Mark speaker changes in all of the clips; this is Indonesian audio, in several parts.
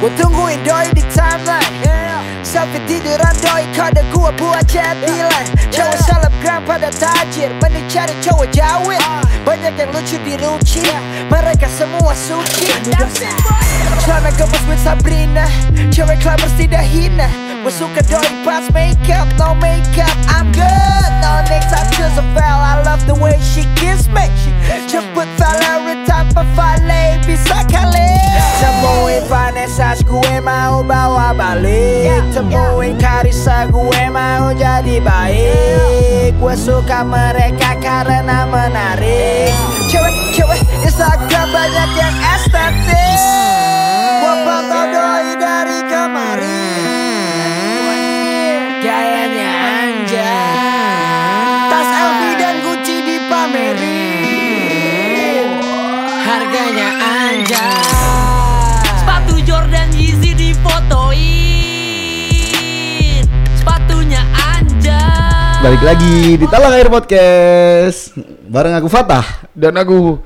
Speaker 1: Gua tungguin doi di timeline Selfie tiduran doi kode gua buat jadilan Cowok selebgram pada tajir Mending cari cowok jawin Banyak yang lucu di ruci Mereka semua suci Celana gemes with Sabrina Cewek climbers tidak hina Gua suka doi pas makeup No makeup I'm good No next I'm just a fell I love the way she kiss me Jemput Valerie tanpa Valerie bisa kali Temuin Vanessa gue mau bawa balik Temuin Karissa gue mau jadi baik Gue suka mereka karena menarik Cewek-cewek Instagram banyak yang estetik Gue pantau doi dari kemarin Gayanya anjay Tas LV dan Gucci dipamerin Harganya anjay
Speaker 2: Sepatu Jordan Yeezy difotoin Sepatunya anjay
Speaker 3: Balik lagi di Talang Air Podcast Bareng aku Fatah
Speaker 4: Dan aku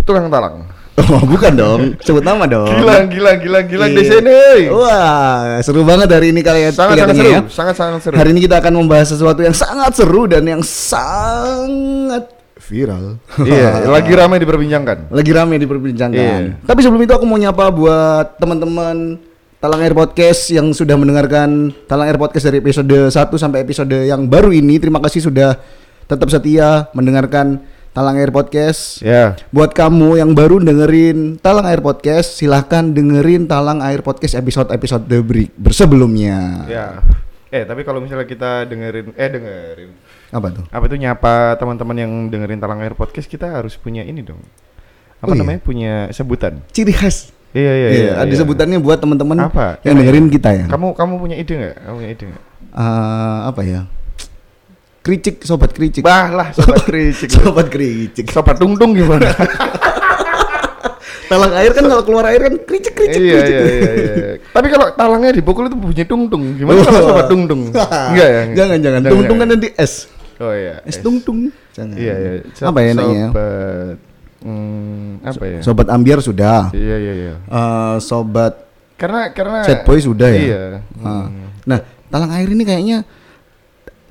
Speaker 4: tukang talang.
Speaker 3: Oh bukan dong, sebut nama dong
Speaker 4: Gila, gila, gila, gila
Speaker 3: Oh.
Speaker 4: di
Speaker 3: Iya.
Speaker 4: sini.
Speaker 3: Wah, seru banget hari ini kalian
Speaker 4: Sangat sangat
Speaker 3: kelihatannya
Speaker 4: seru,
Speaker 3: ya.
Speaker 4: sangat sangat seru.
Speaker 3: Hari ini kita akan membahas sesuatu yang sangat seru dan yang sangat viral
Speaker 4: Iya, lagi ramai diperbincangkan.
Speaker 3: Lagi rame diperbincangkan
Speaker 4: Iya.
Speaker 3: Tapi sebelum itu aku mau nyapa buat teman-teman Talang Air Podcast yang sudah mendengarkan Talang Air Podcast dari episode 1 sampai episode yang baru ini Terima kasih sudah tetap setia mendengarkan Talang Air Podcast
Speaker 4: Ya.
Speaker 3: Buat kamu yang baru dengerin Talang Air Podcast, silahkan dengerin Talang Air Podcast episode-episode beri- bersebelumnya.
Speaker 4: Ya. Eh, tapi kalau misalnya kita dengerin eh dengerin
Speaker 3: Apa tuh?
Speaker 4: apa itu nyapa teman-teman yang dengerin Talang Air Podcast kita harus punya ini dong.
Speaker 3: Oh,
Speaker 4: Apa
Speaker 3: iya.
Speaker 4: namanya? Punya sebutan.
Speaker 3: Ciri khas.
Speaker 4: Iya, iya, iya.
Speaker 3: Iya, ada
Speaker 4: iya.
Speaker 3: sebutannya buat teman-teman
Speaker 4: Apa? Iya,
Speaker 3: yang dengerin kita ya.
Speaker 4: Kamu kamu punya ide nggak? Kamu punya ide nggak?
Speaker 3: Eh, apa ya? Kricik, sobat kricik.
Speaker 4: Bah lah, sobat kritik.
Speaker 3: sobat kricik.
Speaker 4: Sobat tungtung gimana?
Speaker 3: Talang air kan kalau keluar air kan kricik kricik
Speaker 4: iya,
Speaker 3: kricik.
Speaker 4: iya, iya, iya. Tapi kalau talangnya dipukul itu bunyi tungtung. Gimana kalau sobat tungtung? Enggak ya?
Speaker 3: Oh. Jangan jangan. Tung tung kan nanti es.
Speaker 4: Oh iya.
Speaker 3: Es tung tung. Jangan.
Speaker 4: Iya, iya.
Speaker 3: Apa ya enaknya?
Speaker 4: Sobat hmm, apa ya?
Speaker 3: Sobat ambiar sudah.
Speaker 4: Iya, iya, iya.
Speaker 3: Eh, sobat
Speaker 4: Karena karena
Speaker 3: Sad boy sudah ya?
Speaker 4: Iya.
Speaker 3: Ah. Nah, talang air ini kayaknya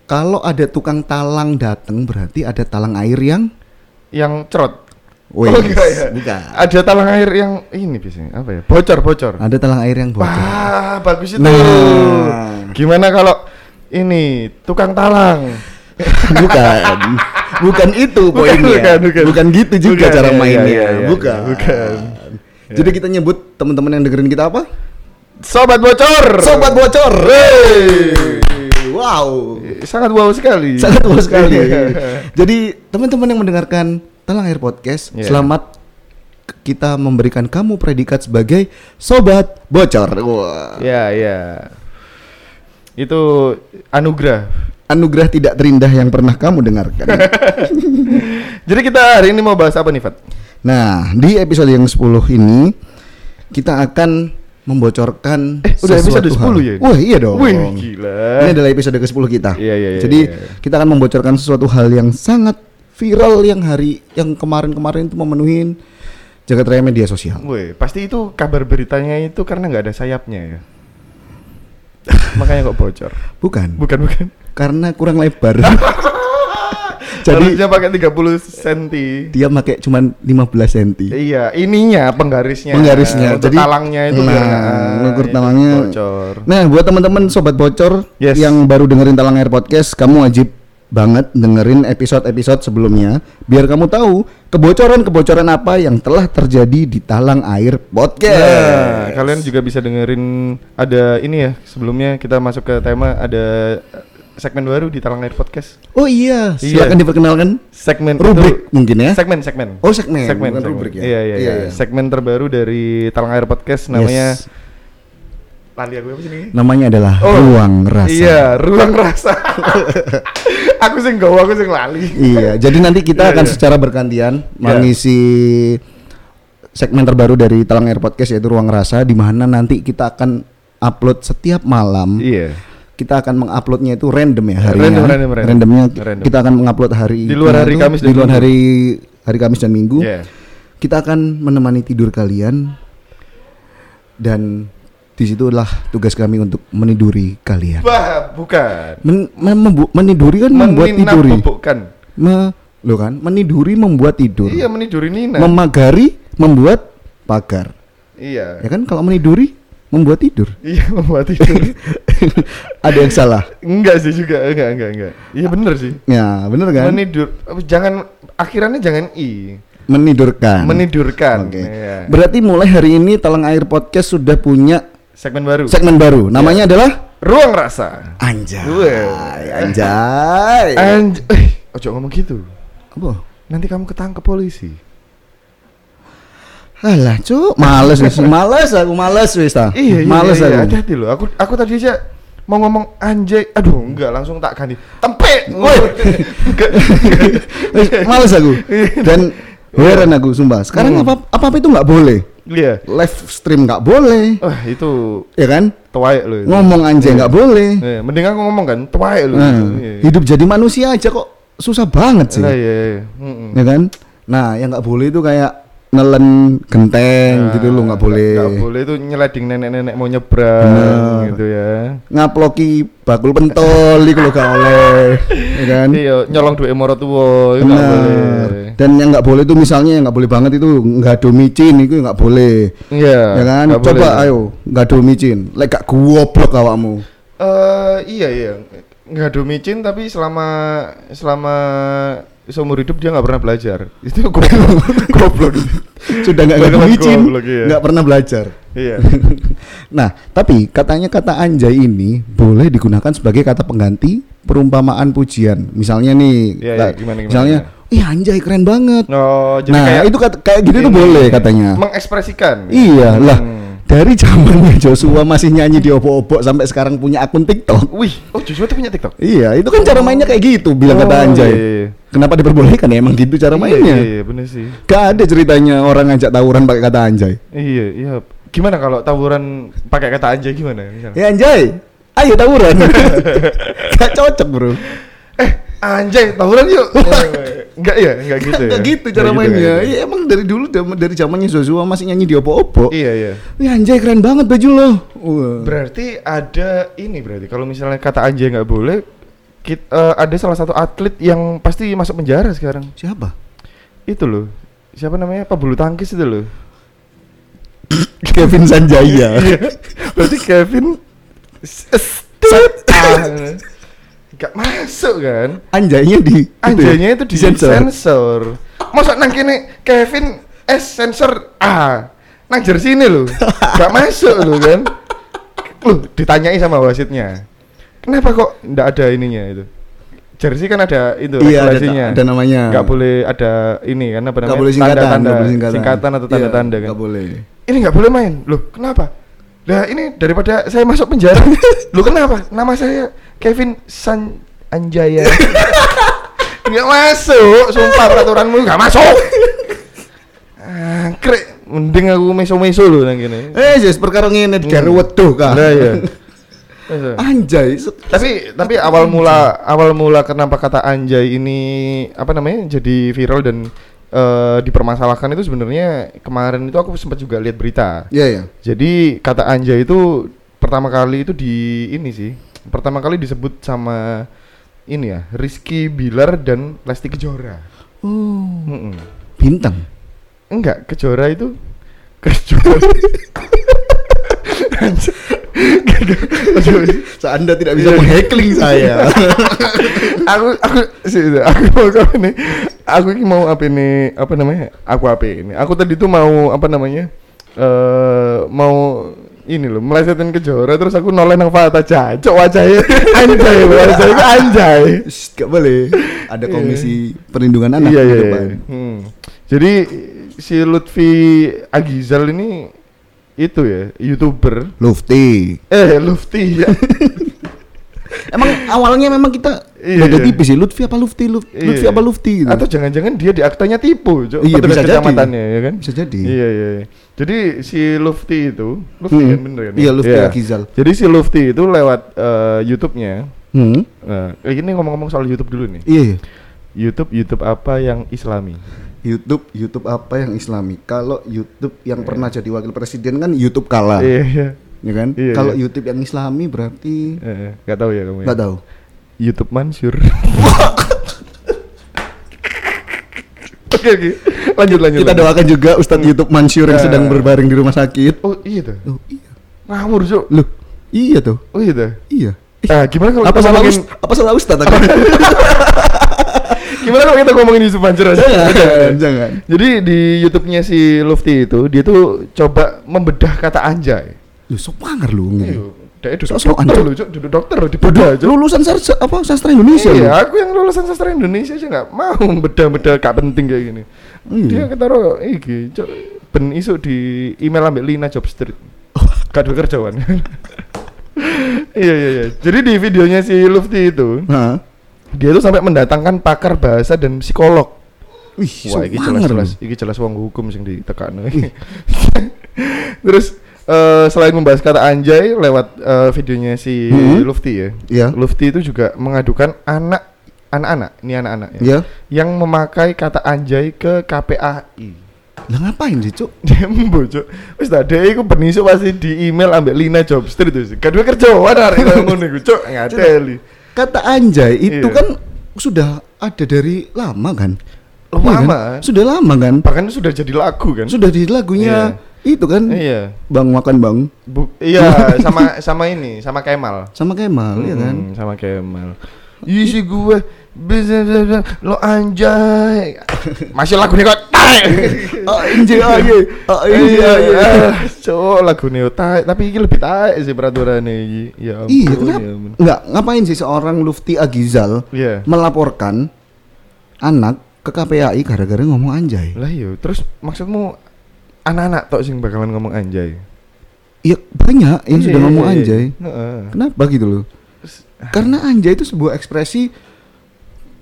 Speaker 3: kalau ada tukang talang datang berarti ada talang air yang
Speaker 4: Yang cerot.
Speaker 3: Wes,
Speaker 4: enggak ya?
Speaker 3: Oh, iya. bukan.
Speaker 4: Ada talang air yang ini biasanya apa ya? Bocor, bocor.
Speaker 3: Ada talang air yang bocor.
Speaker 4: Wah, bagus itu.
Speaker 3: Nah.
Speaker 4: Gimana kalau ini tukang talang?
Speaker 3: bukan. Bukan itu
Speaker 4: Bukan,
Speaker 3: poinnya.
Speaker 4: bukan, bukan.
Speaker 3: gitu juga
Speaker 4: Bukan,
Speaker 3: cara
Speaker 4: iya, iya,
Speaker 3: mainnya.
Speaker 4: iya, iya,
Speaker 3: bukan.
Speaker 4: bukan.
Speaker 3: Jadi kita nyebut teman-teman yang dengerin kita apa?
Speaker 4: Sobat bocor.
Speaker 3: Sobat bocor.
Speaker 4: Hey.
Speaker 3: Wow.
Speaker 4: Sangat wow sekali.
Speaker 3: Sangat luas sekali.
Speaker 4: Iya.
Speaker 3: Jadi teman-teman yang mendengarkan Telang Air Podcast,
Speaker 4: Iya.
Speaker 3: selamat k- kita memberikan kamu predikat sebagai sobat bocor. Wah.
Speaker 4: Iya, iya. Itu anugerah.
Speaker 3: Anugerah tidak terindah yang pernah kamu dengarkan.
Speaker 4: Jadi kita hari ini mau bahas apa nih, Fat?
Speaker 3: nah, di episode yang 10 ini kita akan membocorkan
Speaker 4: Eh, udah
Speaker 3: sesuatu
Speaker 4: episode 10
Speaker 3: hal.
Speaker 4: ya ini?
Speaker 3: Wah, iya dong.
Speaker 4: Wih, gila.
Speaker 3: Ini adalah episode ke-10 kita.
Speaker 4: Iya, iya, iya,
Speaker 3: Jadi
Speaker 4: iya, iya.
Speaker 3: kita akan membocorkan sesuatu hal yang sangat viral yang hari yang kemarin-kemarin itu memenuhi jagat raya media sosial.
Speaker 4: Woi, pasti itu kabar beritanya itu karena nggak ada sayapnya ya. Makanya kok bocor.
Speaker 3: Bukan,
Speaker 4: Bukan, bukan.
Speaker 3: karena kurang lebar. Jadi
Speaker 4: Harusnya pakai 30 cm.
Speaker 3: dia pakai cuman 15 cm.
Speaker 4: Iya, ininya penggarisnya.
Speaker 3: Penggarisnya.
Speaker 4: Untuk Iya, talangnya itu
Speaker 3: nah,
Speaker 4: biar nggak-
Speaker 3: ngukur
Speaker 4: itu
Speaker 3: talangnya.
Speaker 4: bocor.
Speaker 3: Nah, buat teman-teman sobat bocor
Speaker 4: Yes.
Speaker 3: yang baru dengerin Talang Air Podcast, kamu wajib banget dengerin episode-episode sebelumnya biar kamu tahu kebocoran-kebocoran apa yang telah terjadi di Talang Air
Speaker 4: Nah,
Speaker 3: Podcast.
Speaker 4: kalian juga bisa dengerin ada ini ya. Sebelumnya kita masuk ke tema ada eh, segmen baru di Talang Air Podcast.
Speaker 3: Oh iya,
Speaker 4: Iya.
Speaker 3: silakan diperkenalkan.
Speaker 4: Segmen
Speaker 3: Rubrik mungkin ya?
Speaker 4: Segmen, segmen.
Speaker 3: Oh, segmen,
Speaker 4: segmen,
Speaker 3: bukan
Speaker 4: segmen.
Speaker 3: rubrik ya?
Speaker 4: Iya, iya,
Speaker 3: Iya,
Speaker 4: iya,
Speaker 3: iya.
Speaker 4: Segmen terbaru dari Talang Air Podcast namanya
Speaker 3: Yes.
Speaker 4: Lali aku apa sih ini?
Speaker 3: namanya adalah Ruang Rasa.
Speaker 4: Oh. Iya, ruang rasa. aku sih enggak, aku sih lali.
Speaker 3: Iya, jadi nanti kita
Speaker 4: Iya,
Speaker 3: akan
Speaker 4: iya.
Speaker 3: secara bergantian mengisi segmen terbaru dari Talang Air Podcast yaitu Ruang Rasa di mana nanti kita akan upload setiap malam.
Speaker 4: Iya.
Speaker 3: Kita akan menguploadnya itu random ya harinya.
Speaker 4: Random, random, random.
Speaker 3: Randomnya ki-
Speaker 4: Random.
Speaker 3: kita akan mengupload hari
Speaker 4: Di
Speaker 3: Jumat
Speaker 4: luar hari
Speaker 3: tuh,
Speaker 4: Kamis dan
Speaker 3: di luar
Speaker 4: Minggu.
Speaker 3: hari hari Kamis dan Minggu.
Speaker 4: Iya.
Speaker 3: Kita akan menemani tidur kalian dan disitulah tugas kami untuk meniduri kalian.
Speaker 4: Bah, bukan.
Speaker 3: Men- mem- membu- meniduri kan membuat tiduri.
Speaker 4: Meninapukan.
Speaker 3: Me- lo kan meniduri membuat tidur.
Speaker 4: Iya, meniduri Nina.
Speaker 3: Memagari membuat pagar.
Speaker 4: iya.
Speaker 3: Ya kan kalau meniduri membuat tidur.
Speaker 4: Iya, membuat tidur.
Speaker 3: Ada yang salah.
Speaker 4: enggak sih juga, enggak, enggak, enggak. Iya bener sih.
Speaker 3: Ya, bener kan?
Speaker 4: Menidur, jangan akhirannya jangan i.
Speaker 3: Menidurkan.
Speaker 4: Menidurkan.
Speaker 3: Oke.
Speaker 4: Iya.
Speaker 3: Berarti mulai hari ini Talang Air Podcast sudah punya
Speaker 4: Segmen baru.
Speaker 3: segmen baru. Namanya
Speaker 4: Iya.
Speaker 3: adalah
Speaker 4: Ruang rasa.
Speaker 3: Anjay.
Speaker 4: Weh.
Speaker 3: Anjay.
Speaker 4: Anj eh, ojo ngomong gitu.
Speaker 3: Apa?
Speaker 4: Nanti kamu ketangkep polisi.
Speaker 3: Alah, cuk, males wis. Males aku males wis ta. males aku.
Speaker 4: iya, hati-hati loh. Aku aku tadi aja mau ngomong anjay. Aduh, enggak langsung tak ganti. Tempe.
Speaker 3: Woi.
Speaker 4: Enggak.
Speaker 3: Wis, males aku. Dan heran aku sumpah. Sekarang
Speaker 4: Hmm.
Speaker 3: apa apa itu nggak boleh.
Speaker 4: Iya.
Speaker 3: Live stream nggak boleh.
Speaker 4: Wah, itu
Speaker 3: Ya kan?
Speaker 4: tuai loh. itu.
Speaker 3: Ngomong anjay nggak boleh.
Speaker 4: Iya, mending aku ngomong kan, tuai loh.
Speaker 3: Nah,
Speaker 4: Iya.
Speaker 3: hidup jadi manusia aja kok susah banget sih.
Speaker 4: Lah, iya, iya. Mm-mm.
Speaker 3: Ya kan? Nah, yang nggak boleh itu kayak nelen genteng
Speaker 4: Nah,
Speaker 3: gitu loh nggak boleh.
Speaker 4: Nggak boleh itu nyelading nenek-nenek mau nyebrang
Speaker 3: Bener.
Speaker 4: gitu ya.
Speaker 3: Ngaploki bakul pentol itu loh nggak boleh. Ya kan?
Speaker 4: Iya, nyolong duit morotua itu nggak
Speaker 3: Benar.
Speaker 4: boleh.
Speaker 3: Dan yang nggak boleh itu misalnya yang nggak boleh banget itu nggak do micin itu nggak boleh.
Speaker 4: Iya.
Speaker 3: ya kan?
Speaker 4: nggak
Speaker 3: Coba
Speaker 4: boleh.
Speaker 3: ayo nggak do micin. Lek gak goblok awakmu.
Speaker 4: Eh iya iya nggak ada micin tapi selama selama seumur hidup dia nggak pernah belajar itu goblok goblok
Speaker 3: Sudah nggak
Speaker 4: Bakalan
Speaker 3: ngadu micin,
Speaker 4: goblok, iya.
Speaker 3: nggak pernah belajar.
Speaker 4: iya
Speaker 3: nah, tapi katanya kata anjay ini boleh digunakan sebagai kata pengganti perumpamaan pujian. Misalnya nih,
Speaker 4: Iya,
Speaker 3: lah,
Speaker 4: iya, gimana, gimana,
Speaker 3: misalnya, ih anjay keren banget.
Speaker 4: oh jadi
Speaker 3: nah,
Speaker 4: kayak
Speaker 3: itu kata- kayak gitu tuh
Speaker 4: ini,
Speaker 3: boleh katanya.
Speaker 4: mengekspresikan
Speaker 3: Iya lah.
Speaker 4: Hmm.
Speaker 3: Dari zamannya Joshua masih nyanyi di obok-obok sampai sekarang punya akun TikTok.
Speaker 4: wih oh Joshua tuh punya TikTok
Speaker 3: Iya, itu kan cara mainnya kayak gitu bilang kata
Speaker 4: Oh,
Speaker 3: anjay.
Speaker 4: iya, iya.
Speaker 3: Kenapa diperbolehkan ya emang gitu cara mainnya?
Speaker 4: iya, iya bener sih
Speaker 3: Gak ada ceritanya orang ngajak tawuran pakai kata anjay.
Speaker 4: iya iya gimana kalau tawuran pakai kata anjay gimana misalnya
Speaker 3: Ya anjay, ayo tawuran. Gak cocok bro.
Speaker 4: eh anjay tawuran yuk enggak ya enggak gitu ya
Speaker 3: Gak gitu cara
Speaker 4: Nggak
Speaker 3: mainnya.
Speaker 4: nggak gitu.
Speaker 3: Iya emang dari dulu dari dari zamannya Joshua masih nyanyi di opo-opo.
Speaker 4: iya iya
Speaker 3: Wih anjay keren banget baju lo. Wah.
Speaker 4: Berarti ada ini berarti kalau misalnya kata anjay nggak boleh, kit- eh, ada salah satu atlet yang pasti masuk penjara sekarang.
Speaker 3: Siapa?
Speaker 4: Itu loh. Siapa namanya? Pebulu tangkis itu loh.
Speaker 3: Kevin Sanjaya.
Speaker 4: Iya. berarti Kevin s- s- tut- ah. nggak masuk kan?
Speaker 3: Anjaynya di gitu ya?
Speaker 4: Anjaynya itu di
Speaker 3: Disensor.
Speaker 4: sensor. Masa nang kene Kevin S sensor A. Nang jersey ini loh. Gak masuk loh kan. Loh, ditanyai sama wasitnya. Kenapa kok ndak ada ininya itu? Jersey kan ada itu
Speaker 3: Iya, ada-
Speaker 4: regulasinya.
Speaker 3: ada namanya.
Speaker 4: Gak boleh ada ini kan apa namanya?
Speaker 3: Gak boleh singkatan,
Speaker 4: tanda-tanda,
Speaker 3: nggak boleh singkatan.
Speaker 4: singkatan atau
Speaker 3: Iya,
Speaker 4: tanda-tanda kan.
Speaker 3: nggak boleh.
Speaker 4: Ini gak boleh main. Loh, kenapa? Lah ini daripada saya masuk penjara. Loh kenapa? Nama saya Kevin San Anjaya. Nggak masuk, sumpah peraturanmu nggak masuk. Angkrek, mending aku meso-meso loh nang gini.
Speaker 3: Eh, Jess, perkara ngene digawe wedoh kah?
Speaker 4: Hmm. Lah ya.
Speaker 3: Iya. Anjay, se-
Speaker 4: tapi tapi awal mula awal mula kenapa kata anjay ini apa namanya jadi viral dan eh, dipermasalahkan itu sebenarnya kemarin itu aku sempat juga lihat berita.
Speaker 3: Iya, ya.
Speaker 4: Jadi kata anjay itu pertama kali itu di ini sih. Pertama kali disebut sama ini ya, Rizky Bilar dan Lesti Kejora.
Speaker 3: Oh,
Speaker 4: Mm-mm.
Speaker 3: bintang.
Speaker 4: Enggak, Kejora itu Kejora. Anjay.
Speaker 3: Anda tidak bisa menghackling saya.
Speaker 4: aku aku sih, sih, aku mau apa nih? Aku ini mau apa ini? Apa namanya? Aku apa ini? Aku tadi tuh mau apa namanya? Eh mau ini loh melesetin ke Jora terus aku noleh nang Fata cacok wajahnya anjay wajahnya itu anjay
Speaker 3: Shh, Gak boleh. Ada komisi perlindungan anak
Speaker 4: iya
Speaker 3: di
Speaker 4: iya iya.
Speaker 3: depan.
Speaker 4: Hmm. jadi si Lutfi Agizal ini itu ya youtuber Iya.
Speaker 3: Lufti.
Speaker 4: eh Lutfi ya
Speaker 3: Emang awalnya memang kita
Speaker 4: Iya,
Speaker 3: beda
Speaker 4: iya.
Speaker 3: tipis sih. Lutfi apa Lufti? Luf-
Speaker 4: Iya.
Speaker 3: Lutfi apa Lufti gitu.
Speaker 4: Atau jangan-jangan dia di aktanya tipu, Cok.
Speaker 3: Iya,
Speaker 4: Petugas
Speaker 3: bisa jadi.
Speaker 4: kecamatannya, ya kan?
Speaker 3: Bisa jadi.
Speaker 4: Iya, iya. iya. Jadi si Lufti itu, Lufti
Speaker 3: Hmm.
Speaker 4: kan bener kan? ya?
Speaker 3: Iya, Lufti Agizal. jadi
Speaker 4: Jadi si Lufti itu lewat eh, YouTube-nya.
Speaker 3: hmm.
Speaker 4: Nah, eh, ini ngomong-ngomong soal YouTube dulu nih.
Speaker 3: Iya. iya.
Speaker 4: YouTube YouTube apa yang Islami?
Speaker 3: YouTube YouTube apa yang Islami? Kalau YouTube yang pernah jadi wakil presiden kan YouTube kalah,
Speaker 4: Iya, iya.
Speaker 3: ya kan?
Speaker 4: Iya,
Speaker 3: Kalau
Speaker 4: iya.
Speaker 3: YouTube yang Islami berarti
Speaker 4: Eh, Gak tahu ya kamu ya.
Speaker 3: nggak tahu.
Speaker 4: YouTube Mansur. Oke, oke. Lanjut, lanjut.
Speaker 3: Kita
Speaker 4: lanjut.
Speaker 3: doakan juga Ustadz YouTube Mansur yang sedang berbaring di rumah sakit.
Speaker 4: Oh, iya tuh.
Speaker 3: Loh, Ya. iya.
Speaker 4: Ngawur, Cok.
Speaker 3: Loh, iya tuh.
Speaker 4: Oh, iya tuh.
Speaker 3: Iya. Eh,
Speaker 4: Nah, gimana kalau
Speaker 3: apa
Speaker 4: kita
Speaker 3: salah
Speaker 4: ngomongin-
Speaker 3: Ustadz? Apa salah Ustadz? aku?
Speaker 4: Gimana kalau kita ngomongin Yusuf Mansur aja?
Speaker 3: jangan, jangan.
Speaker 4: Jadi di YouTube-nya si Lufti itu, dia tuh coba membedah kata anjay.
Speaker 3: Lu sok banget lu. Nge.
Speaker 4: Iya, Dia duduk
Speaker 3: Sok-sok
Speaker 4: dokter
Speaker 3: anjay.
Speaker 4: loh, Cok. duduk dokter loh, dibedah aja.
Speaker 3: Lulusan sarja apa sastra Indonesia.
Speaker 4: Iya,
Speaker 3: lu.
Speaker 4: aku yang lulusan sastra Indonesia aja nggak mau bedah-bedah gak penting kayak gini.
Speaker 3: Iya.
Speaker 4: Dia ketaro iki, Cok, ben isuk di email ambek Lina Jobstreet. Gak ada kerjaan. iya iya iya. Jadi di videonya si Lufti itu,
Speaker 3: Hah?
Speaker 4: dia tuh sampai mendatangkan pakar bahasa dan psikolog.
Speaker 3: Wih,
Speaker 4: Wah,
Speaker 3: sok
Speaker 4: ini
Speaker 3: banget
Speaker 4: jelas-jelas,
Speaker 3: lu.
Speaker 4: ini jelas wong hukum sing ditekan. Terus eh, selain membahas kata anjay lewat eh, videonya si
Speaker 3: Hmm.
Speaker 4: Lufti ya,
Speaker 3: Iya.
Speaker 4: Lufti itu juga mengadukan anak anak-anak, ini anak-anak ya,
Speaker 3: Iya.
Speaker 4: yang memakai kata anjay ke KPAI.
Speaker 3: Lah ngapain sih, Cuk?
Speaker 4: Dembo, Cuk. Wis tak dhek iku ben isuk pasti di email ambek Lina Jobstreet itu. Kadue kerjaan arek koyo ngono iku, Cuk, ngadeli.
Speaker 3: Kata anjay itu
Speaker 4: Iya.
Speaker 3: kan sudah ada dari lama kan?
Speaker 4: Lama.
Speaker 3: Iya kan? Sudah lama kan?
Speaker 4: Bahkan sudah jadi lagu kan?
Speaker 3: Sudah di lagunya itu kan.
Speaker 4: Iya.
Speaker 3: Bang makan Bang
Speaker 4: Bu- iya, sama sama ini, sama Kemal.
Speaker 3: sama Kemal ya kan.
Speaker 4: Mm, sama Kemal. Isi gue bisa lo anjay. Masih lagu nih kok. taek. Oh,
Speaker 3: Anjay aja.
Speaker 4: Iya iya. Cok lagu nih taek, tapi ini lebih taek sih peraturan ini. Ya ampun.
Speaker 3: Iya,
Speaker 4: ya
Speaker 3: kenapa?
Speaker 4: ampun.
Speaker 3: Enggak, ngapain sih seorang Lufti Agizal
Speaker 4: Iya.
Speaker 3: melaporkan anak ke KPAI gara-gara ngomong anjay?
Speaker 4: Lah yo, terus maksudmu anak-anak tok sing bakalan ngomong anjay.
Speaker 3: Iya, banyak yang sudah
Speaker 4: Iya,
Speaker 3: ngomong
Speaker 4: iya, iya.
Speaker 3: anjay.
Speaker 4: Heeh.
Speaker 3: Kenapa gitu loh? Karena anjay itu sebuah ekspresi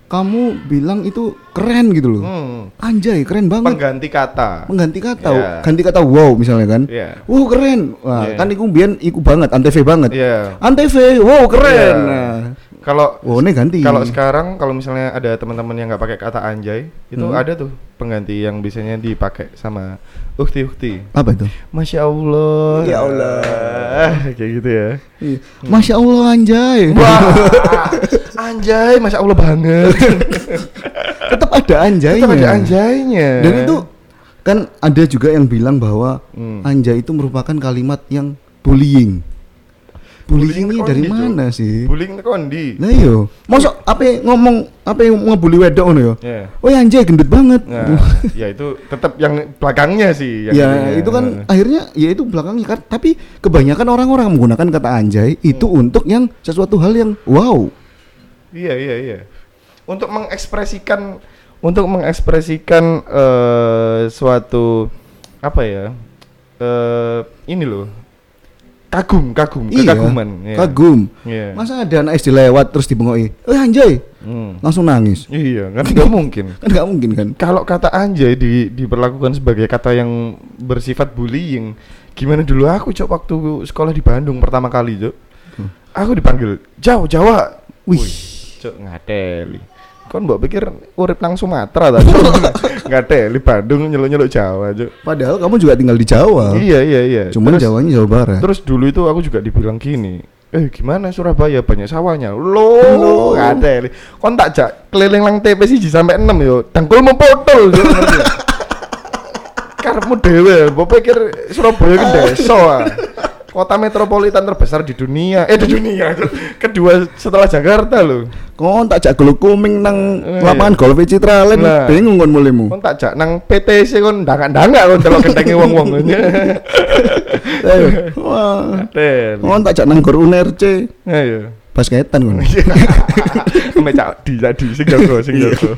Speaker 3: kamu bilang itu keren gitu loh.
Speaker 4: Hmm.
Speaker 3: Anjay, keren banget.
Speaker 4: Pengganti kata.
Speaker 3: Mengganti kata,
Speaker 4: Iya.
Speaker 3: ganti kata wow misalnya kan.
Speaker 4: Iya.
Speaker 3: Wow, keren. Wah,
Speaker 4: Iya.
Speaker 3: kan iku biyen iku banget, antv banget.
Speaker 4: Iya.
Speaker 3: Antv, wow keren.
Speaker 4: Iya.
Speaker 3: Nah,
Speaker 4: Kalau
Speaker 3: wow, ini ganti.
Speaker 4: Kalau sekarang kalau misalnya ada teman-teman yang nggak pakai kata anjay, itu
Speaker 3: Hmm.
Speaker 4: ada tuh pengganti yang biasanya dipakai sama ukti-ukti.
Speaker 3: apa itu?
Speaker 4: Masya Allah.
Speaker 3: Ya Allah.
Speaker 4: Ah, Kayak gitu ya.
Speaker 3: Iya. Masya Allah anjay.
Speaker 4: Wah, anjay, masya Allah banget.
Speaker 3: Tetap ada anjaynya.
Speaker 4: Tetap ada anjaynya.
Speaker 3: Dan itu kan ada juga yang bilang bahwa
Speaker 4: Hmm.
Speaker 3: anjay itu merupakan kalimat yang bullying. Bullying ini
Speaker 4: tekondi,
Speaker 3: dari
Speaker 4: Cuk.
Speaker 3: mana sih?
Speaker 4: Bullying tekondi.
Speaker 3: Nah iyo, mosok apa yang ngomong apa yang ngebully wedok ngono ya?
Speaker 4: Iya.
Speaker 3: Oh anjay gendut banget.
Speaker 4: Nah, iya, ya itu tetap yang belakangnya sih. yang
Speaker 3: ya
Speaker 4: ininya. Nah.
Speaker 3: itu kan akhirnya ya itu belakangnya kan tapi kebanyakan orang-orang menggunakan kata anjay itu untuk yang sesuatu hal yang wow.
Speaker 4: Iya iya iya. Untuk mengekspresikan untuk mengekspresikan eh suatu apa ya? eh ini loh. Kagum, kagum,
Speaker 3: Iya,
Speaker 4: kekaguman. iya.
Speaker 3: Kagum.
Speaker 4: Iya.
Speaker 3: Masa ada anak SD lewat terus dibengoi, "Eh anjay."
Speaker 4: Hmm.
Speaker 3: Langsung nangis.
Speaker 4: Iya, kan nggak mungkin.
Speaker 3: Kan nggak mungkin kan?
Speaker 4: Kalau kata anjay di, diperlakukan sebagai kata yang bersifat bullying, gimana dulu aku cok waktu sekolah di Bandung pertama kali cok, aku dipanggil jauh Jawa,
Speaker 3: Hmm. Wih.
Speaker 4: cok ngadeli. Kon mbok pikir urip nang Sumatera ta? Cuk? ngadeli Bandung nyeluk-nyeluk Jawa cok.
Speaker 3: Padahal kamu juga tinggal di Jawa.
Speaker 4: Iya iya iya.
Speaker 3: Oh. Cuman
Speaker 4: terus,
Speaker 3: Jawanya Jawa Barat.
Speaker 4: terus dulu itu aku juga dibilang gini, eh gimana Surabaya banyak sawahnya lo ngadeli kon tak jak keliling lang TP siji sampai 6 yo dengkul mempotol yo ngerti ya? karepmu dhewe mbok pikir Surabaya kan desa ah. kota metropolitan terbesar di dunia eh di dunia kedua setelah Jakarta loh
Speaker 3: Kon tak jak geluk kuming nang
Speaker 4: Eh,
Speaker 3: lapangan
Speaker 4: iya.
Speaker 3: golf Citraland
Speaker 4: Nah.
Speaker 3: bingung kon mulemu.
Speaker 4: kon tak jak nang PTC kon ndangak-ndangak kon delok gentengi wong-wong Iya.
Speaker 3: Eh, Wah.
Speaker 4: Ngadeli.
Speaker 3: Kon tak jak nang gor UNRC
Speaker 4: ayo
Speaker 3: basketan kon.
Speaker 4: Iya. Mek tadi, tadi sing jago, sing jago.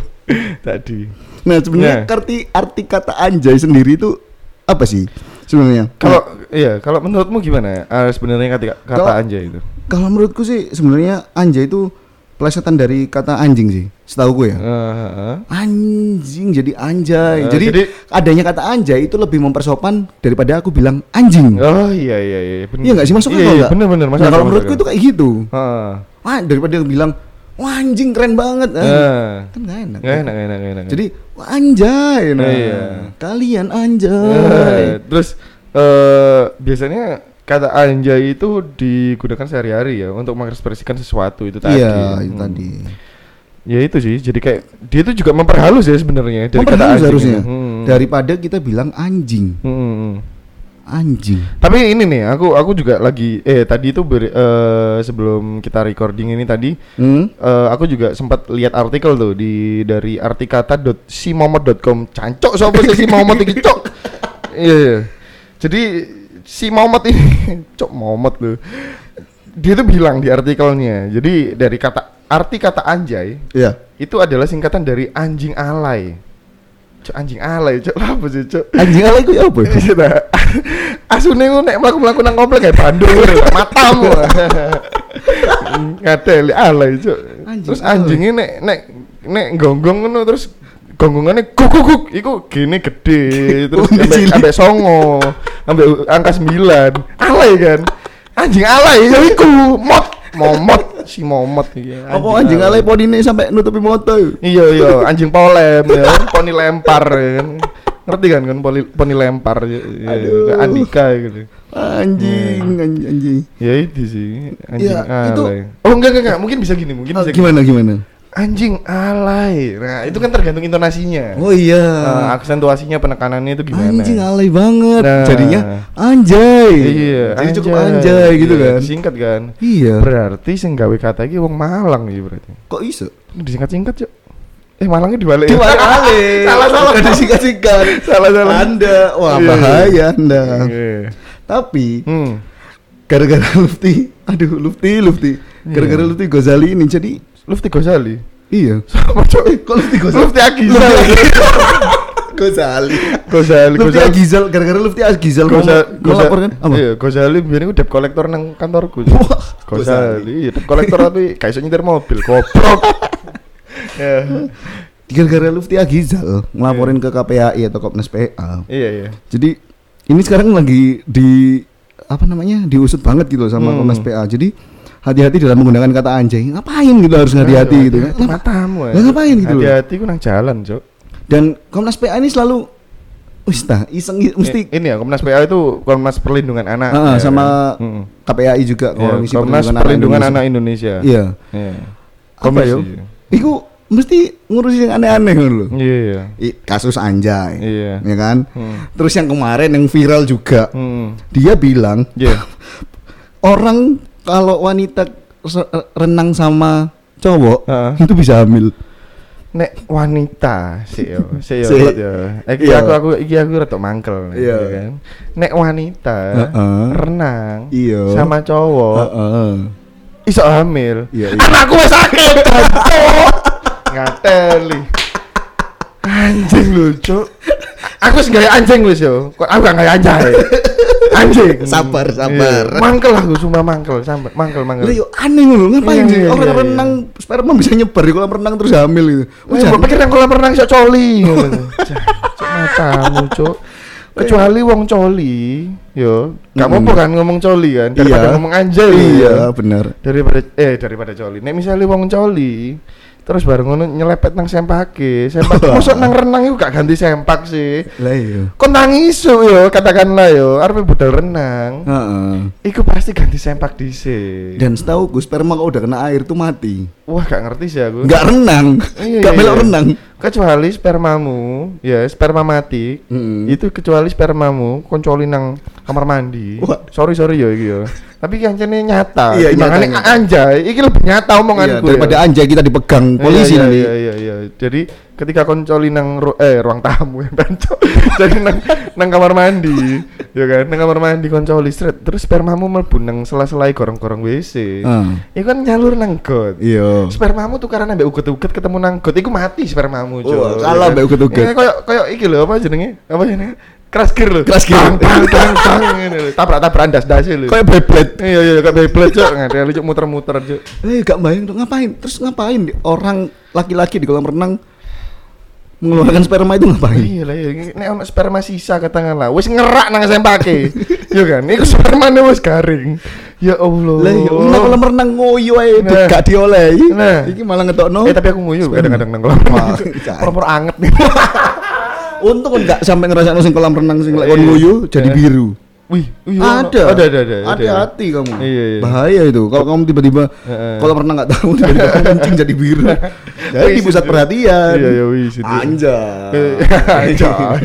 Speaker 4: Tadi.
Speaker 3: Nah, sebenarnya
Speaker 4: Iya.
Speaker 3: arti arti kata anjay sendiri itu apa sih sebenarnya? Nah,
Speaker 4: Kalau iya, kalau menurutmu gimana ya? eh, sebenarnya kata kata
Speaker 3: Kalau-
Speaker 4: anjay itu?
Speaker 3: Kalau menurutku sih sebenarnya anja itu pelesetan dari kata anjing sih, setahu gue ya.
Speaker 4: Heeh.
Speaker 3: Anjing jadi anjay.
Speaker 4: Eh,
Speaker 3: jadi,
Speaker 4: jadi-
Speaker 3: adanya kata anjay itu lebih mempersopan daripada aku bilang anjing.
Speaker 4: Oh iya iya iya. bener.
Speaker 3: Iya nggak sih masuk
Speaker 4: Iya,
Speaker 3: akal
Speaker 4: iya,
Speaker 3: nggak?
Speaker 4: Bener bener
Speaker 3: Nah, kalau menurutku itu kayak gitu.
Speaker 4: Heeh.
Speaker 3: Wah, daripada yang bilang wah anjing keren banget. Ah,
Speaker 4: Eh.
Speaker 3: Kan nggak enak.
Speaker 4: Nggak enak nggak enak nggak enak.
Speaker 3: Jadi wah, anjay nah.
Speaker 4: Iya.
Speaker 3: Kalian
Speaker 4: Eh,
Speaker 3: anjay.
Speaker 4: terus eh biasanya kata anjay itu digunakan sehari-hari ya untuk mengekspresikan sesuatu itu tadi.
Speaker 3: Iya, itu
Speaker 4: Hmm.
Speaker 3: tadi.
Speaker 4: Ya itu sih. Jadi kayak dia itu juga memperhalus ya sebenarnya dari kata
Speaker 3: Memperhalus
Speaker 4: anjing
Speaker 3: harusnya.
Speaker 4: ini. Hmm.
Speaker 3: Daripada kita bilang anjing.
Speaker 4: Hmm, hmm.
Speaker 3: Anjing.
Speaker 4: Tapi ini nih, aku aku juga lagi eh tadi itu ber- eh, sebelum kita recording ini tadi
Speaker 3: Hmm?
Speaker 4: eh, aku juga sempat lihat artikel tuh di dari artikata.simomet.com. Cancok siapa sih si Momet iki, Cok? Iya. iya. Jadi si Momet ini Cok Momet tuh. Dia tuh bilang di artikelnya. Jadi dari kata arti kata anjay
Speaker 3: Iya.
Speaker 4: itu adalah singkatan dari anjing alay. Cok anjing alay, Cok. Lah apa sih, Cok?
Speaker 3: Anjing ala itu ya apa? ya?
Speaker 4: Iya ta. Asune ku nek mlaku-mlaku nang komplek kayak Bandung ngono, matamu. Ngadeli alay cuk.
Speaker 3: Anjing
Speaker 4: Terus
Speaker 3: alay.
Speaker 4: anjingnya nek nek nek gonggong ngono terus gonggongannya guk guk guk iku gini gede terus
Speaker 3: Oh,
Speaker 4: ambek
Speaker 3: cilik.
Speaker 4: ambek songo ambek u- angka 9 alay kan anjing alay ya iku mot momot si momot iki
Speaker 3: Apa anjing ala podine sampai nutupi motor?
Speaker 4: Iya iya, anjing polem ya, poni lempar ya kan. Ngerti kan kan poni, poni lempar ya, ya,
Speaker 3: Aduh.
Speaker 4: kayak Andika gitu.
Speaker 3: Anjing, anjing, anjing.
Speaker 4: Ya itu sih, anjing
Speaker 3: Ya,
Speaker 4: alay.
Speaker 3: itu-
Speaker 4: Oh enggak enggak enggak, mungkin bisa gini, mungkin
Speaker 3: Ah,
Speaker 4: bisa gini.
Speaker 3: gimana gimana?
Speaker 4: Anjing alay. Nah, itu kan tergantung intonasinya.
Speaker 3: Oh iya.
Speaker 4: Eh, aksentuasinya penekanannya itu gimana?
Speaker 3: anjing alay banget.
Speaker 4: Nah.
Speaker 3: Jadinya anjay.
Speaker 4: Iya,
Speaker 3: Jadi cukup anjay gitu
Speaker 4: Iya,
Speaker 3: kan.
Speaker 4: Singkat kan.
Speaker 3: Iya.
Speaker 4: Berarti sing gawe kata iki wong Malang iki berarti.
Speaker 3: Kok iso?
Speaker 4: Disingkat-singkat, Cuk. Eh, Malangnya dibalik.
Speaker 3: Dibalik-balik.
Speaker 4: salah salah.
Speaker 3: Bukan disingkat-singkat.
Speaker 4: Salah-salah.
Speaker 3: Anda, wah
Speaker 4: Iya.
Speaker 3: bahaya Anda.
Speaker 4: Iya.
Speaker 3: Tapi
Speaker 4: Hmm.
Speaker 3: gara-gara Lufti, aduh Lufti, Lufti.
Speaker 4: Iya.
Speaker 3: Gara-gara Lufti Gozali ini jadi
Speaker 4: Lufti Ghazali.
Speaker 3: iya. Eh,
Speaker 4: Apa cok?
Speaker 3: kok Lufti Gozali?
Speaker 4: Lufti Agizal.
Speaker 3: Lufti Gozali.
Speaker 4: Ghazali.
Speaker 3: Lufti
Speaker 4: Ghazali.
Speaker 3: Agizal gara-gara Lufti Agizal mau
Speaker 4: Ghoza-
Speaker 3: mau
Speaker 4: Ghoza-
Speaker 3: lapor kan? Apa?
Speaker 4: Iya, Ghazali biar aku debt collector nang kantorku.
Speaker 3: Wah, Ghazali.
Speaker 4: Ghazali, iya debt collector tapi kayak iso nyetir mobil, goblok. Ya.
Speaker 3: Gara-gara Lufti Agizal ngelaporin ke KPAI atau Komnas PA.
Speaker 4: Iya, iya.
Speaker 3: Jadi ini sekarang lagi di apa namanya diusut banget gitu loh sama
Speaker 4: Hmm.
Speaker 3: Komnas PA. Jadi hati-hati dalam menggunakan kata anjay. Ngapain gitu harus hati-hati gitu kan?
Speaker 4: Iya, Matamu. eh.
Speaker 3: Lah, ngapain gitu loh?
Speaker 4: Hati-hati ku nang jalan, Cok.
Speaker 3: Dan Komnas PA ini selalu ustah iseng gitu, mesti
Speaker 4: I- ini ya Komnas PA itu Komnas Perlindungan Anak.
Speaker 3: Ah,
Speaker 4: ya.
Speaker 3: sama
Speaker 4: Mm-mm.
Speaker 3: KPAI juga
Speaker 4: Iya,
Speaker 3: Komisi
Speaker 4: Komnas Perlindungan Anak Indonesia.
Speaker 3: Iya.
Speaker 4: Iya.
Speaker 3: Apa
Speaker 4: Komisi.
Speaker 3: ya? Iku mesti ngurusin yang aneh-aneh gitu loh.
Speaker 4: Iya, iya.
Speaker 3: I- kasus anjay.
Speaker 4: Iya.
Speaker 3: Ya kan?
Speaker 4: Hmm.
Speaker 3: Terus yang kemarin yang viral juga.
Speaker 4: Hmm.
Speaker 3: Dia bilang
Speaker 4: Iya.
Speaker 3: orang kalau wanita se- renang sama cowok
Speaker 4: Heeh.
Speaker 3: itu bisa hamil.
Speaker 4: nek wanita sih yo sih yo
Speaker 3: Sik.
Speaker 4: Rod, yo iki
Speaker 3: Iya.
Speaker 4: aku aku iki aku rada mangkel
Speaker 3: Iya.
Speaker 4: ya kan nek wanita
Speaker 3: Heeh.
Speaker 4: renang
Speaker 3: Iya.
Speaker 4: sama cowok
Speaker 3: Heeh.
Speaker 4: iso hamil
Speaker 3: Iya, iya.
Speaker 4: anakku wis sakit ngateli anjing lucu aku wis gawe anjing wis yo Kok aku gak gawe anjay anjing
Speaker 3: Sabar, sabar.
Speaker 4: Iya. mangkel aku sumpah mangkel sampe mangkel mangkel
Speaker 3: Lah yo aneh ngono, ngapain
Speaker 4: Iya,
Speaker 3: sih
Speaker 4: iya,
Speaker 3: orang
Speaker 4: iya, iya.
Speaker 3: renang sperma bisa nyebar di kolam renang terus hamil gitu.
Speaker 4: Wah,
Speaker 3: Wah,
Speaker 4: coba pikir yang kolam renang iso coli. Oh, iya. Cuk matamu, Cuk. Iya. Kecuali wong coli, yo. Gak
Speaker 3: Mm-mm.
Speaker 4: apa kan ngomong coli kan daripada
Speaker 3: Iya.
Speaker 4: ngomong anjay.
Speaker 3: Iya,
Speaker 4: kan.
Speaker 3: benar.
Speaker 4: Daripada eh daripada coli. Nek misalnya wong coli terus bareng ngono nyelepet nang sempake, sempak mosok nang renang iku gak ganti sempak sih.
Speaker 3: Lah iya.
Speaker 4: Kon nang isu yo, katakanlah yo, arep budal renang.
Speaker 3: Heeh.
Speaker 4: Iku pasti ganti sempak dhisik.
Speaker 3: Dan setahu gue sperma kalau udah kena air tuh mati.
Speaker 4: Wah, gak ngerti sih aku.
Speaker 3: Enggak renang.
Speaker 4: Iya,
Speaker 3: Enggak
Speaker 4: iya,
Speaker 3: belok
Speaker 4: iya.
Speaker 3: renang.
Speaker 4: kecuali spermamu ya sperma mati
Speaker 3: Mm-mm.
Speaker 4: itu kecuali spermamu koncoli nang kamar mandi
Speaker 3: Wah.
Speaker 4: sorry sorry ya iki ya tapi yang ini nyata
Speaker 3: Iya, nyata,
Speaker 4: makanya
Speaker 3: nyata.
Speaker 4: anjay iki lebih
Speaker 3: Iya,
Speaker 4: nyata omonganku
Speaker 3: daripada
Speaker 4: ya.
Speaker 3: anjay kita dipegang
Speaker 4: Iya,
Speaker 3: polisi
Speaker 4: iya,
Speaker 3: nanti.
Speaker 4: iya, iya, iya. jadi ketika koncoli nang ru- eh ruang tamu ya Danco. jadi nang nang kamar mandi ya kan nang kamar mandi koncoli seret terus spermamu mlebu nang sela-sela e gorong-gorong WC
Speaker 3: Ah.
Speaker 4: Iku kan nyalur nang got
Speaker 3: Iya.
Speaker 4: spermamu tukaran ambek uget-uget ketemu nang got iku mati spermamu Iya,
Speaker 3: Oh, salah ambek uget-uget.
Speaker 4: Ya, koyo koyo iki lho apa jenenge apa jenenge Crash gear loh.
Speaker 3: Crash gear.
Speaker 4: Tang tang tang tang ngene lho. Tabrak-tabrakan das-dase lho.
Speaker 3: Kayak Beyblade.
Speaker 4: Iya iya kayak Beyblade cok. Ngene lu cok muter-muter cok.
Speaker 3: Eh, gak bayang tuh ngapain? Terus ngapain orang laki-laki di kolam renang mengeluarkan sperma itu ngapain?
Speaker 4: Iya lah, iya. nek ono sperma sisa katakanlah, wis ngerak nang sempake. Iya kan? Iku spermane wis garing. Ya Allah.
Speaker 3: Lah, ya nang kolam renang ngoyo ae
Speaker 4: Nah.
Speaker 3: gak diolehi.
Speaker 4: Nah.
Speaker 3: Iki malah ngetokno.
Speaker 4: Eh tapi aku nguyu
Speaker 3: Sperma.
Speaker 4: kadang-kadang nang kolam.
Speaker 3: Wah,
Speaker 4: Pur-pur anget nih.
Speaker 3: Untung kon gak sampai ngerasakno sing kolam renang sing lek kon
Speaker 4: Iya.
Speaker 3: ngoyo jadi
Speaker 4: Iya.
Speaker 3: biru.
Speaker 4: Wih, wih, ono.
Speaker 3: Ada.
Speaker 4: Iya, ada, ada, ada.
Speaker 3: Hati-hati kamu.
Speaker 4: Iya, iya.
Speaker 3: Bahaya itu. Kalau kamu tiba-tiba
Speaker 4: Heeh.
Speaker 3: kolam renang gak tahu tiba-tiba kamu kencing jadi biru. Jadi
Speaker 4: Wih,
Speaker 3: di pusat
Speaker 4: situ.
Speaker 3: perhatian.
Speaker 4: Iya, iya, wih, situ. Eh,
Speaker 3: Anjay.
Speaker 4: anjay.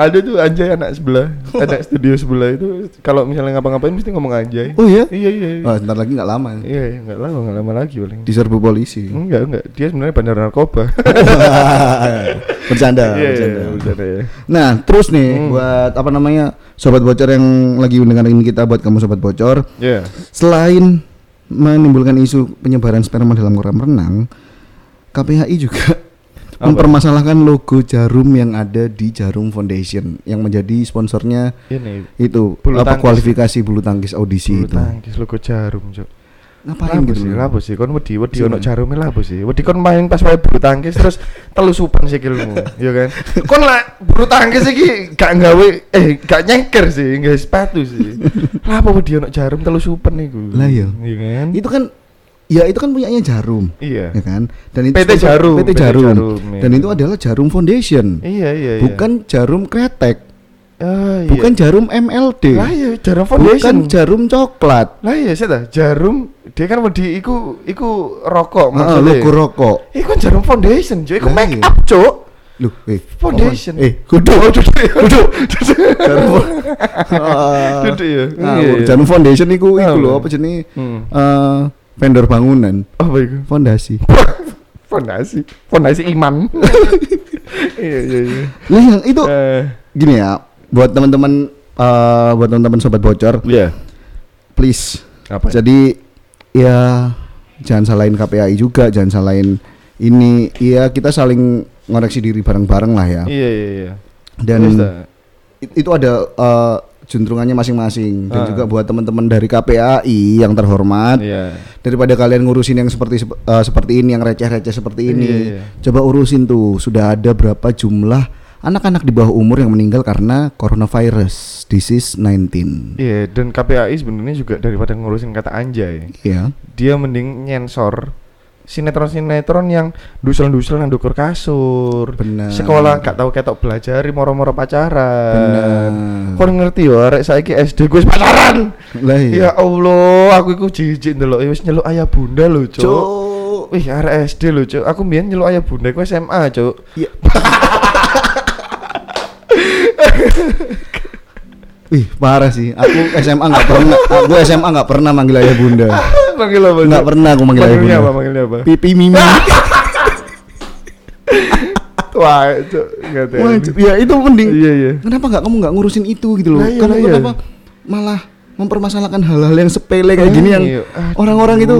Speaker 4: Ada tuh anjay anak sebelah, anak studio sebelah itu kalau misalnya ngapa-ngapain mesti ngomong anjay.
Speaker 3: Oh iya?
Speaker 4: Iya iya. iya.
Speaker 3: Wah, sebentar lagi gak lama. ya.
Speaker 4: Iya, Hmm. iya, enggak lama, enggak lama lagi paling.
Speaker 3: Diserbu polisi.
Speaker 4: Enggak, enggak. Dia sebenarnya bandar narkoba.
Speaker 3: bercanda, Nah, bercanda.
Speaker 4: Iya, iya, iya, bercanda Hmm. ya.
Speaker 3: Nah, terus nih buat apa namanya sobat bocor yang lagi mendengarkan kita buat kamu sobat bocor,
Speaker 4: Iya.
Speaker 3: selain menimbulkan isu penyebaran sperma dalam kolam renang, KPHI juga mempermasalahkan logo jarum yang ada di Jarum Foundation yang menjadi sponsornya
Speaker 4: Ini
Speaker 3: itu
Speaker 4: Bulu
Speaker 3: apa
Speaker 4: tangkis.
Speaker 3: kualifikasi bulu tangkis audisi
Speaker 4: bulu
Speaker 3: itu.
Speaker 4: tangkis logo jarum, Cok.
Speaker 3: Ngapain
Speaker 4: Lapo
Speaker 3: gitu?
Speaker 4: sih,
Speaker 3: loh?
Speaker 4: lapo sih, kon wedi, wedi
Speaker 3: Gimana?
Speaker 4: ono jarume lapo sih. Wedi kon main pas wae bulu tangkis terus telusupan sikilmu, ya kan. Kon lah bulu tangkis iki gak gawe eh gak nyengker sih, nggawe sepatu sih. Lapo wedi ono jarum telusupan niku.
Speaker 3: Lah iya.
Speaker 4: Iya kan?
Speaker 3: Itu kan ya itu kan punyanya Jarum.
Speaker 4: Iya.
Speaker 3: Ya kan? Dan itu
Speaker 4: PT
Speaker 3: sponsor-
Speaker 4: Jarum,
Speaker 3: PT
Speaker 4: PT
Speaker 3: Jarum.
Speaker 4: Jarum, ya.
Speaker 3: Dan itu adalah Jarum Foundation.
Speaker 4: Iya, iya, iya.
Speaker 3: Bukan Jarum Kretek,
Speaker 4: Ah, iya.
Speaker 3: bukan Jarum MLD.
Speaker 4: Lah iya, jarum
Speaker 3: Bukan
Speaker 4: foundation.
Speaker 3: Jarum Coklat.
Speaker 4: lah iya, sih dah, jarum dia kan wedi iku iku rokok
Speaker 3: Heeh, Ah, logo rokok.
Speaker 4: Iku kan jarum foundation, Cok. Iku
Speaker 3: Lah
Speaker 4: make
Speaker 3: iya.
Speaker 4: up, Cok.
Speaker 3: Loh, eh.
Speaker 4: Foundation.
Speaker 3: apaan? Eh, kudu.
Speaker 4: Oh, duduk, duduk, duduk.
Speaker 3: Jarum.
Speaker 4: Ah, Duduk ya.
Speaker 3: Nah,
Speaker 4: Iya, iya.
Speaker 3: Jarum Foundation iku iku
Speaker 4: Ah,
Speaker 3: lho
Speaker 4: iya.
Speaker 3: apa jenenge?
Speaker 4: Hmm.
Speaker 3: Eh, vendor bangunan,
Speaker 4: Apa itu?
Speaker 3: fondasi.
Speaker 4: Fondasi, fondasi iman. iya iya iya.
Speaker 3: Lah yang itu
Speaker 4: Eh,
Speaker 3: gini ya, buat teman-teman eh buat teman-teman sobat bocor,
Speaker 4: Iya.
Speaker 3: please
Speaker 4: Apa?
Speaker 3: Jadi ya jangan salahin KPAI juga, jangan salahin ini. Iya kita saling ngoreksi diri bareng-bareng lah ya.
Speaker 4: Iya iya iya.
Speaker 3: Dan
Speaker 4: Terus, eh, dah.
Speaker 3: it- itu ada eh, juntrungannya masing-masing. Dan
Speaker 4: Ah.
Speaker 3: juga buat teman-teman dari KPAI yang terhormat.
Speaker 4: Iya.
Speaker 3: Daripada kalian ngurusin yang seperti sep- eh, seperti ini, yang receh-receh seperti ini,
Speaker 4: Iya, iya.
Speaker 3: coba urusin tuh sudah ada berapa jumlah anak-anak di bawah umur yang meninggal karena coronavirus disease 19.
Speaker 4: Iya, dan KPAI sebenarnya juga daripada ngurusin kata anjay,
Speaker 3: Ya.
Speaker 4: dia mending nyensor sinetron-sinetron yang dusel-dusel nang dukur kasur.
Speaker 3: Bener.
Speaker 4: Sekolah gak tahu ketok belajar, moro-moro pacaran.
Speaker 3: Bener.
Speaker 4: Kon ngerti yo, arek saiki SD gue wis pacaran.
Speaker 3: Lah iya.
Speaker 4: Ya Allah, aku iku jijik ndelok wis nyeluk ayah bunda lho, Cuk.
Speaker 3: Cuk.
Speaker 4: Wih, arek SD lho, Cuk. Aku mbiyen nyeluk ayah bunda ku SMA, Cuk.
Speaker 3: Iya. Wih, parah sih. Aku SMA nggak pernah. Aku SMA nggak pernah manggil ayah bunda.
Speaker 4: Manggil apa?
Speaker 3: Nggak
Speaker 4: Cuk?
Speaker 3: pernah aku manggil ayah
Speaker 4: Manggilnya
Speaker 3: bunda.
Speaker 4: apa? Manggilnya apa?
Speaker 3: Pipi mimi.
Speaker 4: Wah, Cuk, nggak tahu.
Speaker 3: Wah, cu- ya itu mending.
Speaker 4: Iya, iya.
Speaker 3: Kenapa nggak kamu nggak ngurusin itu gitu loh?
Speaker 4: Lah, iya,
Speaker 3: kamu
Speaker 4: lah, iya.
Speaker 3: kenapa malah mempermasalahkan hal-hal yang sepele kayak gini yang
Speaker 4: Iya, aduh.
Speaker 3: orang-orang itu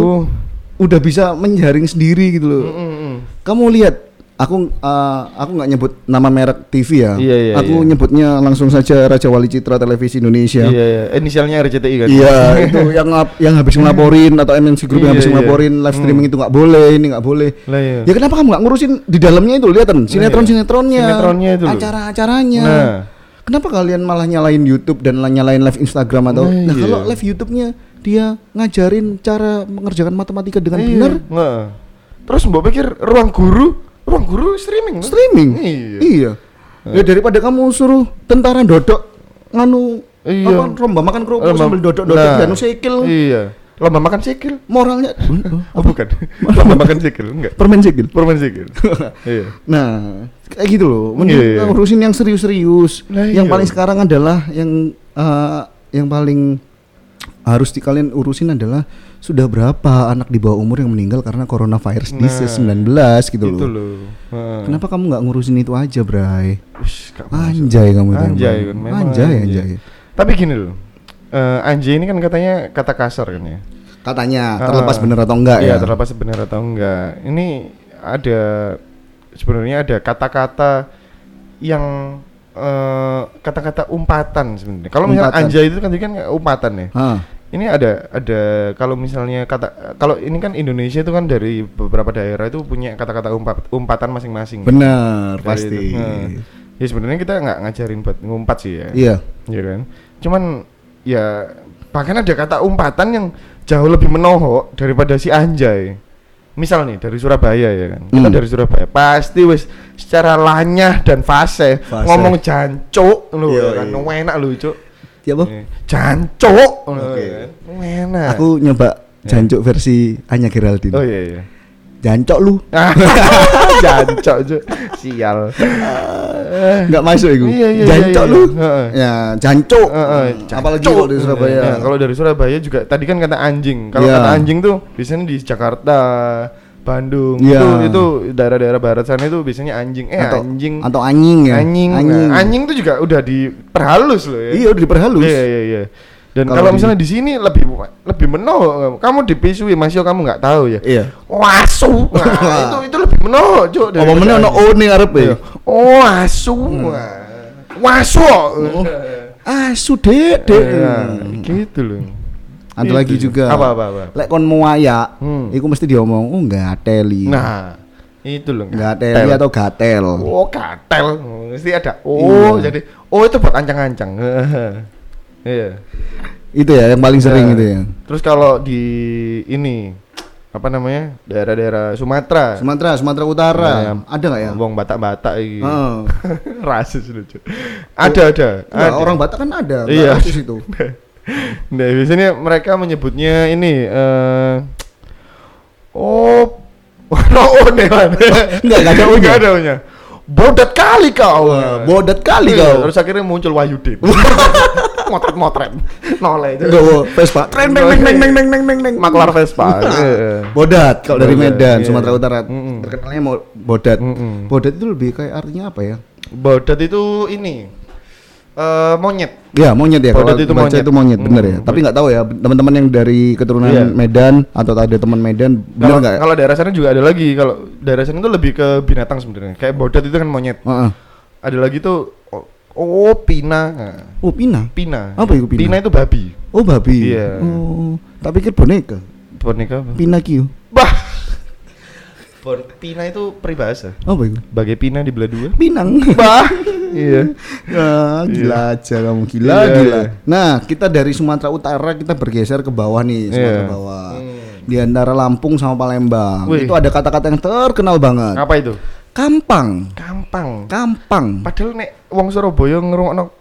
Speaker 3: udah bisa menjaring sendiri gitu loh.
Speaker 4: Mm, mm.
Speaker 3: Kamu lihat, aku eh, aku nggak nyebut nama merek TV ya.
Speaker 4: Iya, iya,
Speaker 3: aku
Speaker 4: iya.
Speaker 3: nyebutnya langsung saja Raja Wali Citra Televisi Indonesia.
Speaker 4: Iya, iya. Inisialnya RCTI kan?
Speaker 3: Iya, itu yang ngap- yang habis ngelaporin atau MNC Group yang
Speaker 4: Iya,
Speaker 3: habis
Speaker 4: iya.
Speaker 3: ngelaporin live streaming itu nggak boleh, ini nggak boleh.
Speaker 4: Lah, iya.
Speaker 3: Ya kenapa kamu nggak ngurusin di dalamnya itu lihatan sinetron-sinetronnya,
Speaker 4: Sinetronnya itu loh.
Speaker 3: acara-acaranya.
Speaker 4: Nah.
Speaker 3: Kenapa kalian malah nyalain YouTube dan la- nyalain live Instagram atau
Speaker 4: Nah,
Speaker 3: nah,
Speaker 4: iya.
Speaker 3: kalau live YouTube-nya dia ngajarin cara mengerjakan matematika dengan
Speaker 4: Iya,
Speaker 3: benar
Speaker 4: nggak. Terus Mbak pikir ruang guru, ruang guru streaming. kan?
Speaker 3: streaming.
Speaker 4: Iya.
Speaker 3: Iya. Ya daripada kamu suruh tentara dodok nganu
Speaker 4: Iya.
Speaker 3: apa lomba makan kerupuk
Speaker 4: Lomba-
Speaker 3: sambil dodok-dodok
Speaker 4: Nah.
Speaker 3: dan sikil.
Speaker 4: Iya. Lomba makan sikil.
Speaker 3: Moralnya
Speaker 4: Oh, bukan. Lomba makan sikil, enggak.
Speaker 3: permen sikil.
Speaker 4: Permen sikil. Iya.
Speaker 3: gitu. Nah, kayak gitu loh. Mending
Speaker 4: Iya, iya.
Speaker 3: ngurusin yang serius-serius.
Speaker 4: Lah,
Speaker 3: yang
Speaker 4: iya.
Speaker 3: paling sekarang adalah yang eh, yang paling harus di kalian urusin adalah sudah berapa anak di bawah umur yang meninggal karena coronavirus
Speaker 4: Nah,
Speaker 3: disease 19 gitu
Speaker 4: Itu
Speaker 3: loh.
Speaker 4: loh. Nah. Heeh.
Speaker 3: Kenapa kamu nggak ngurusin itu aja, Bray?
Speaker 4: Ush, gak masuk.
Speaker 3: Anjay kamu itu.
Speaker 4: Nah, Anjay,
Speaker 3: emang.
Speaker 4: kan, memang
Speaker 3: anjay, anjay.
Speaker 4: Tapi gini loh. eh anjay ini kan katanya kata kasar kan ya.
Speaker 3: Katanya
Speaker 4: Ah.
Speaker 3: terlepas bener atau enggak ya?
Speaker 4: Iya, terlepas benar atau enggak. Ini ada sebenarnya ada kata-kata yang eh eh, kata-kata umpatan sebenarnya. Kalau misalnya
Speaker 3: Umpatan.
Speaker 4: anjay itu kan tadi kan umpatan ya.
Speaker 3: Hah.
Speaker 4: Ini ada ada kalau misalnya kata kalau ini kan Indonesia itu kan dari beberapa daerah itu punya kata-kata umpa- umpatan masing-masing.
Speaker 3: Benar,
Speaker 4: Dari
Speaker 3: pasti.
Speaker 4: itu. Nah, ya sebenarnya kita nggak ngajarin buat ngumpat sih ya.
Speaker 3: Iya.
Speaker 4: Iya kan. Cuman ya bahkan ada kata umpatan yang jauh lebih menohok daripada si anjay. Misal nih dari Surabaya ya kan. Kita
Speaker 3: Hmm.
Speaker 4: dari Surabaya pasti wis secara lanyah dan fase,
Speaker 3: Fase.
Speaker 4: ngomong jancuk lu ya
Speaker 3: Yoi.
Speaker 4: kan. Enak lu cuk.
Speaker 3: Iya, Bob?
Speaker 4: Iya. Jancuk lu
Speaker 3: Oke.
Speaker 4: ya kan. Enak.
Speaker 3: Aku nyoba jancuk versi Anya
Speaker 4: Iya. Oh
Speaker 3: Geraldine.
Speaker 4: iya iya.
Speaker 3: Jancok lu.
Speaker 4: Ah, jancuk cuk. Sial.
Speaker 3: Enggak masuk itu.
Speaker 4: Iya, iya,
Speaker 3: Jancok
Speaker 4: iya,
Speaker 3: lu.
Speaker 4: iya. Heeh.
Speaker 3: Ya, jancok.
Speaker 4: Heeh,
Speaker 3: Apalagi
Speaker 4: jancuk.
Speaker 3: kalau di Surabaya.
Speaker 4: Ya, kalau dari Surabaya juga tadi kan kata anjing. Kalau
Speaker 3: Iya.
Speaker 4: kata anjing tuh biasanya di Jakarta, Bandung
Speaker 3: Iya.
Speaker 4: itu itu daerah-daerah barat sana itu biasanya anjing. Eh
Speaker 3: atau
Speaker 4: anjing.
Speaker 3: atau anjing ya.
Speaker 4: Anjing.
Speaker 3: Anjing.
Speaker 4: Nah, anjing tuh juga udah diperhalus loh ya.
Speaker 3: Iya, udah diperhalus.
Speaker 4: Iya iya iya. Dan
Speaker 3: Kalau
Speaker 4: kalau
Speaker 3: di-
Speaker 4: misalnya di sini lebih lebih menohok kamu dipisui Mas Yo kamu nggak tahu ya.
Speaker 3: Iya.
Speaker 4: Wasu. Nah, itu itu lebih menohok, Cuk. daripada
Speaker 3: Ngomongnya ono
Speaker 4: anjing.
Speaker 3: O nih arep ya.
Speaker 4: Iya. Oh, asu.
Speaker 3: Hmm.
Speaker 4: Wasu.
Speaker 3: Ah, sudah dek.
Speaker 4: Iya, gitu loh.
Speaker 3: Iya. Ada lagi
Speaker 4: Gitu.
Speaker 3: juga.
Speaker 4: Apa apa apa.
Speaker 3: Lek kon muaya,
Speaker 4: Hmm.
Speaker 3: iku mesti diomong, oh enggak teli.
Speaker 4: Nah, itu loh.
Speaker 3: Gateli atau gatel.
Speaker 4: Oh, gatel. Mesti ada. Oh,
Speaker 3: Iya.
Speaker 4: jadi oh itu buat ancang-ancang. Iya.
Speaker 3: Itu ya yang paling sering
Speaker 4: Nah,
Speaker 3: itu ya.
Speaker 4: Terus kalau di ini apa namanya? Daerah-daerah Sumatera.
Speaker 3: Sumatera, Sumatera Utara.
Speaker 4: Nah,
Speaker 3: Ada nggak ya?
Speaker 4: Wong Batak-Batak iki.
Speaker 3: Heeh.
Speaker 4: Rasis lucu. Ada ada.
Speaker 3: Nggak,
Speaker 4: ada.
Speaker 3: orang Batak kan ada, nggak
Speaker 4: Iya.
Speaker 3: khusus itu.
Speaker 4: Nah, biasanya mereka menyebutnya ini eh oh no one man.
Speaker 3: Enggak, enggak ada
Speaker 4: Enggak
Speaker 3: O-nya.
Speaker 4: ada O-nya. Bodat kali kau.
Speaker 3: Wah, bodet Eh, kali
Speaker 4: Iya,
Speaker 3: kau.
Speaker 4: Terus akhirnya muncul Wahyudin. Motret-motret. Noleh itu.
Speaker 3: Enggak, wo, Vespa. Tren neng neng neng neng neng neng neng neng.
Speaker 4: Maklar Vespa.
Speaker 3: Nah.
Speaker 4: Iya.
Speaker 3: Eh, Bodat kalau dari
Speaker 4: Bodat,
Speaker 3: Medan,
Speaker 4: iya.
Speaker 3: Sumatera Utara.
Speaker 4: Mm-mm.
Speaker 3: Terkenalnya mau bodat.
Speaker 4: Mm-mm.
Speaker 3: Bodat itu lebih kayak artinya apa ya?
Speaker 4: Bodat itu ini eh monyet.
Speaker 3: Ya monyet ya.
Speaker 4: Bodat
Speaker 3: kalau
Speaker 4: itu
Speaker 3: baca
Speaker 4: monyet.
Speaker 3: itu monyet, bener ya.
Speaker 4: Mm,
Speaker 3: Tapi nggak tahu ya teman-teman yang dari keturunan
Speaker 4: Iya.
Speaker 3: Medan atau ada teman Medan, bener
Speaker 4: Kalau
Speaker 3: nggak?
Speaker 4: kalau daerah sana juga ada lagi. Kalau daerah sana itu lebih ke binatang sebenarnya. Kayak bodat itu kan monyet.
Speaker 3: Heeh.
Speaker 4: Ada lagi tuh oh, oh pina. Nah,
Speaker 3: Oh pina.
Speaker 4: Pina.
Speaker 3: Apa itu pina?
Speaker 4: Pina itu babi.
Speaker 3: Oh babi.
Speaker 4: Iya.
Speaker 3: Oh, tak pikir boneka.
Speaker 4: Boneka apa?
Speaker 3: Pinakio.
Speaker 4: Bah. Bon- pina itu peribahasa.
Speaker 3: Apa itu?
Speaker 4: Bagai pina di belah dua.
Speaker 3: Pinang.
Speaker 4: Bah. iya.
Speaker 3: Ah, gila aja kamu gila
Speaker 4: Iya,
Speaker 3: gila.
Speaker 4: iya.
Speaker 3: Nah, kita dari Sumatera Utara kita bergeser ke bawah nih, Sumatera
Speaker 4: Iya.
Speaker 3: bawah. Di antara Lampung sama Palembang.
Speaker 4: Wih.
Speaker 3: Itu ada kata-kata yang terkenal banget.
Speaker 4: Apa itu?
Speaker 3: Kampang.
Speaker 4: Kampang.
Speaker 3: Kampang.
Speaker 4: Padahal nek wong Surabaya ngrungokno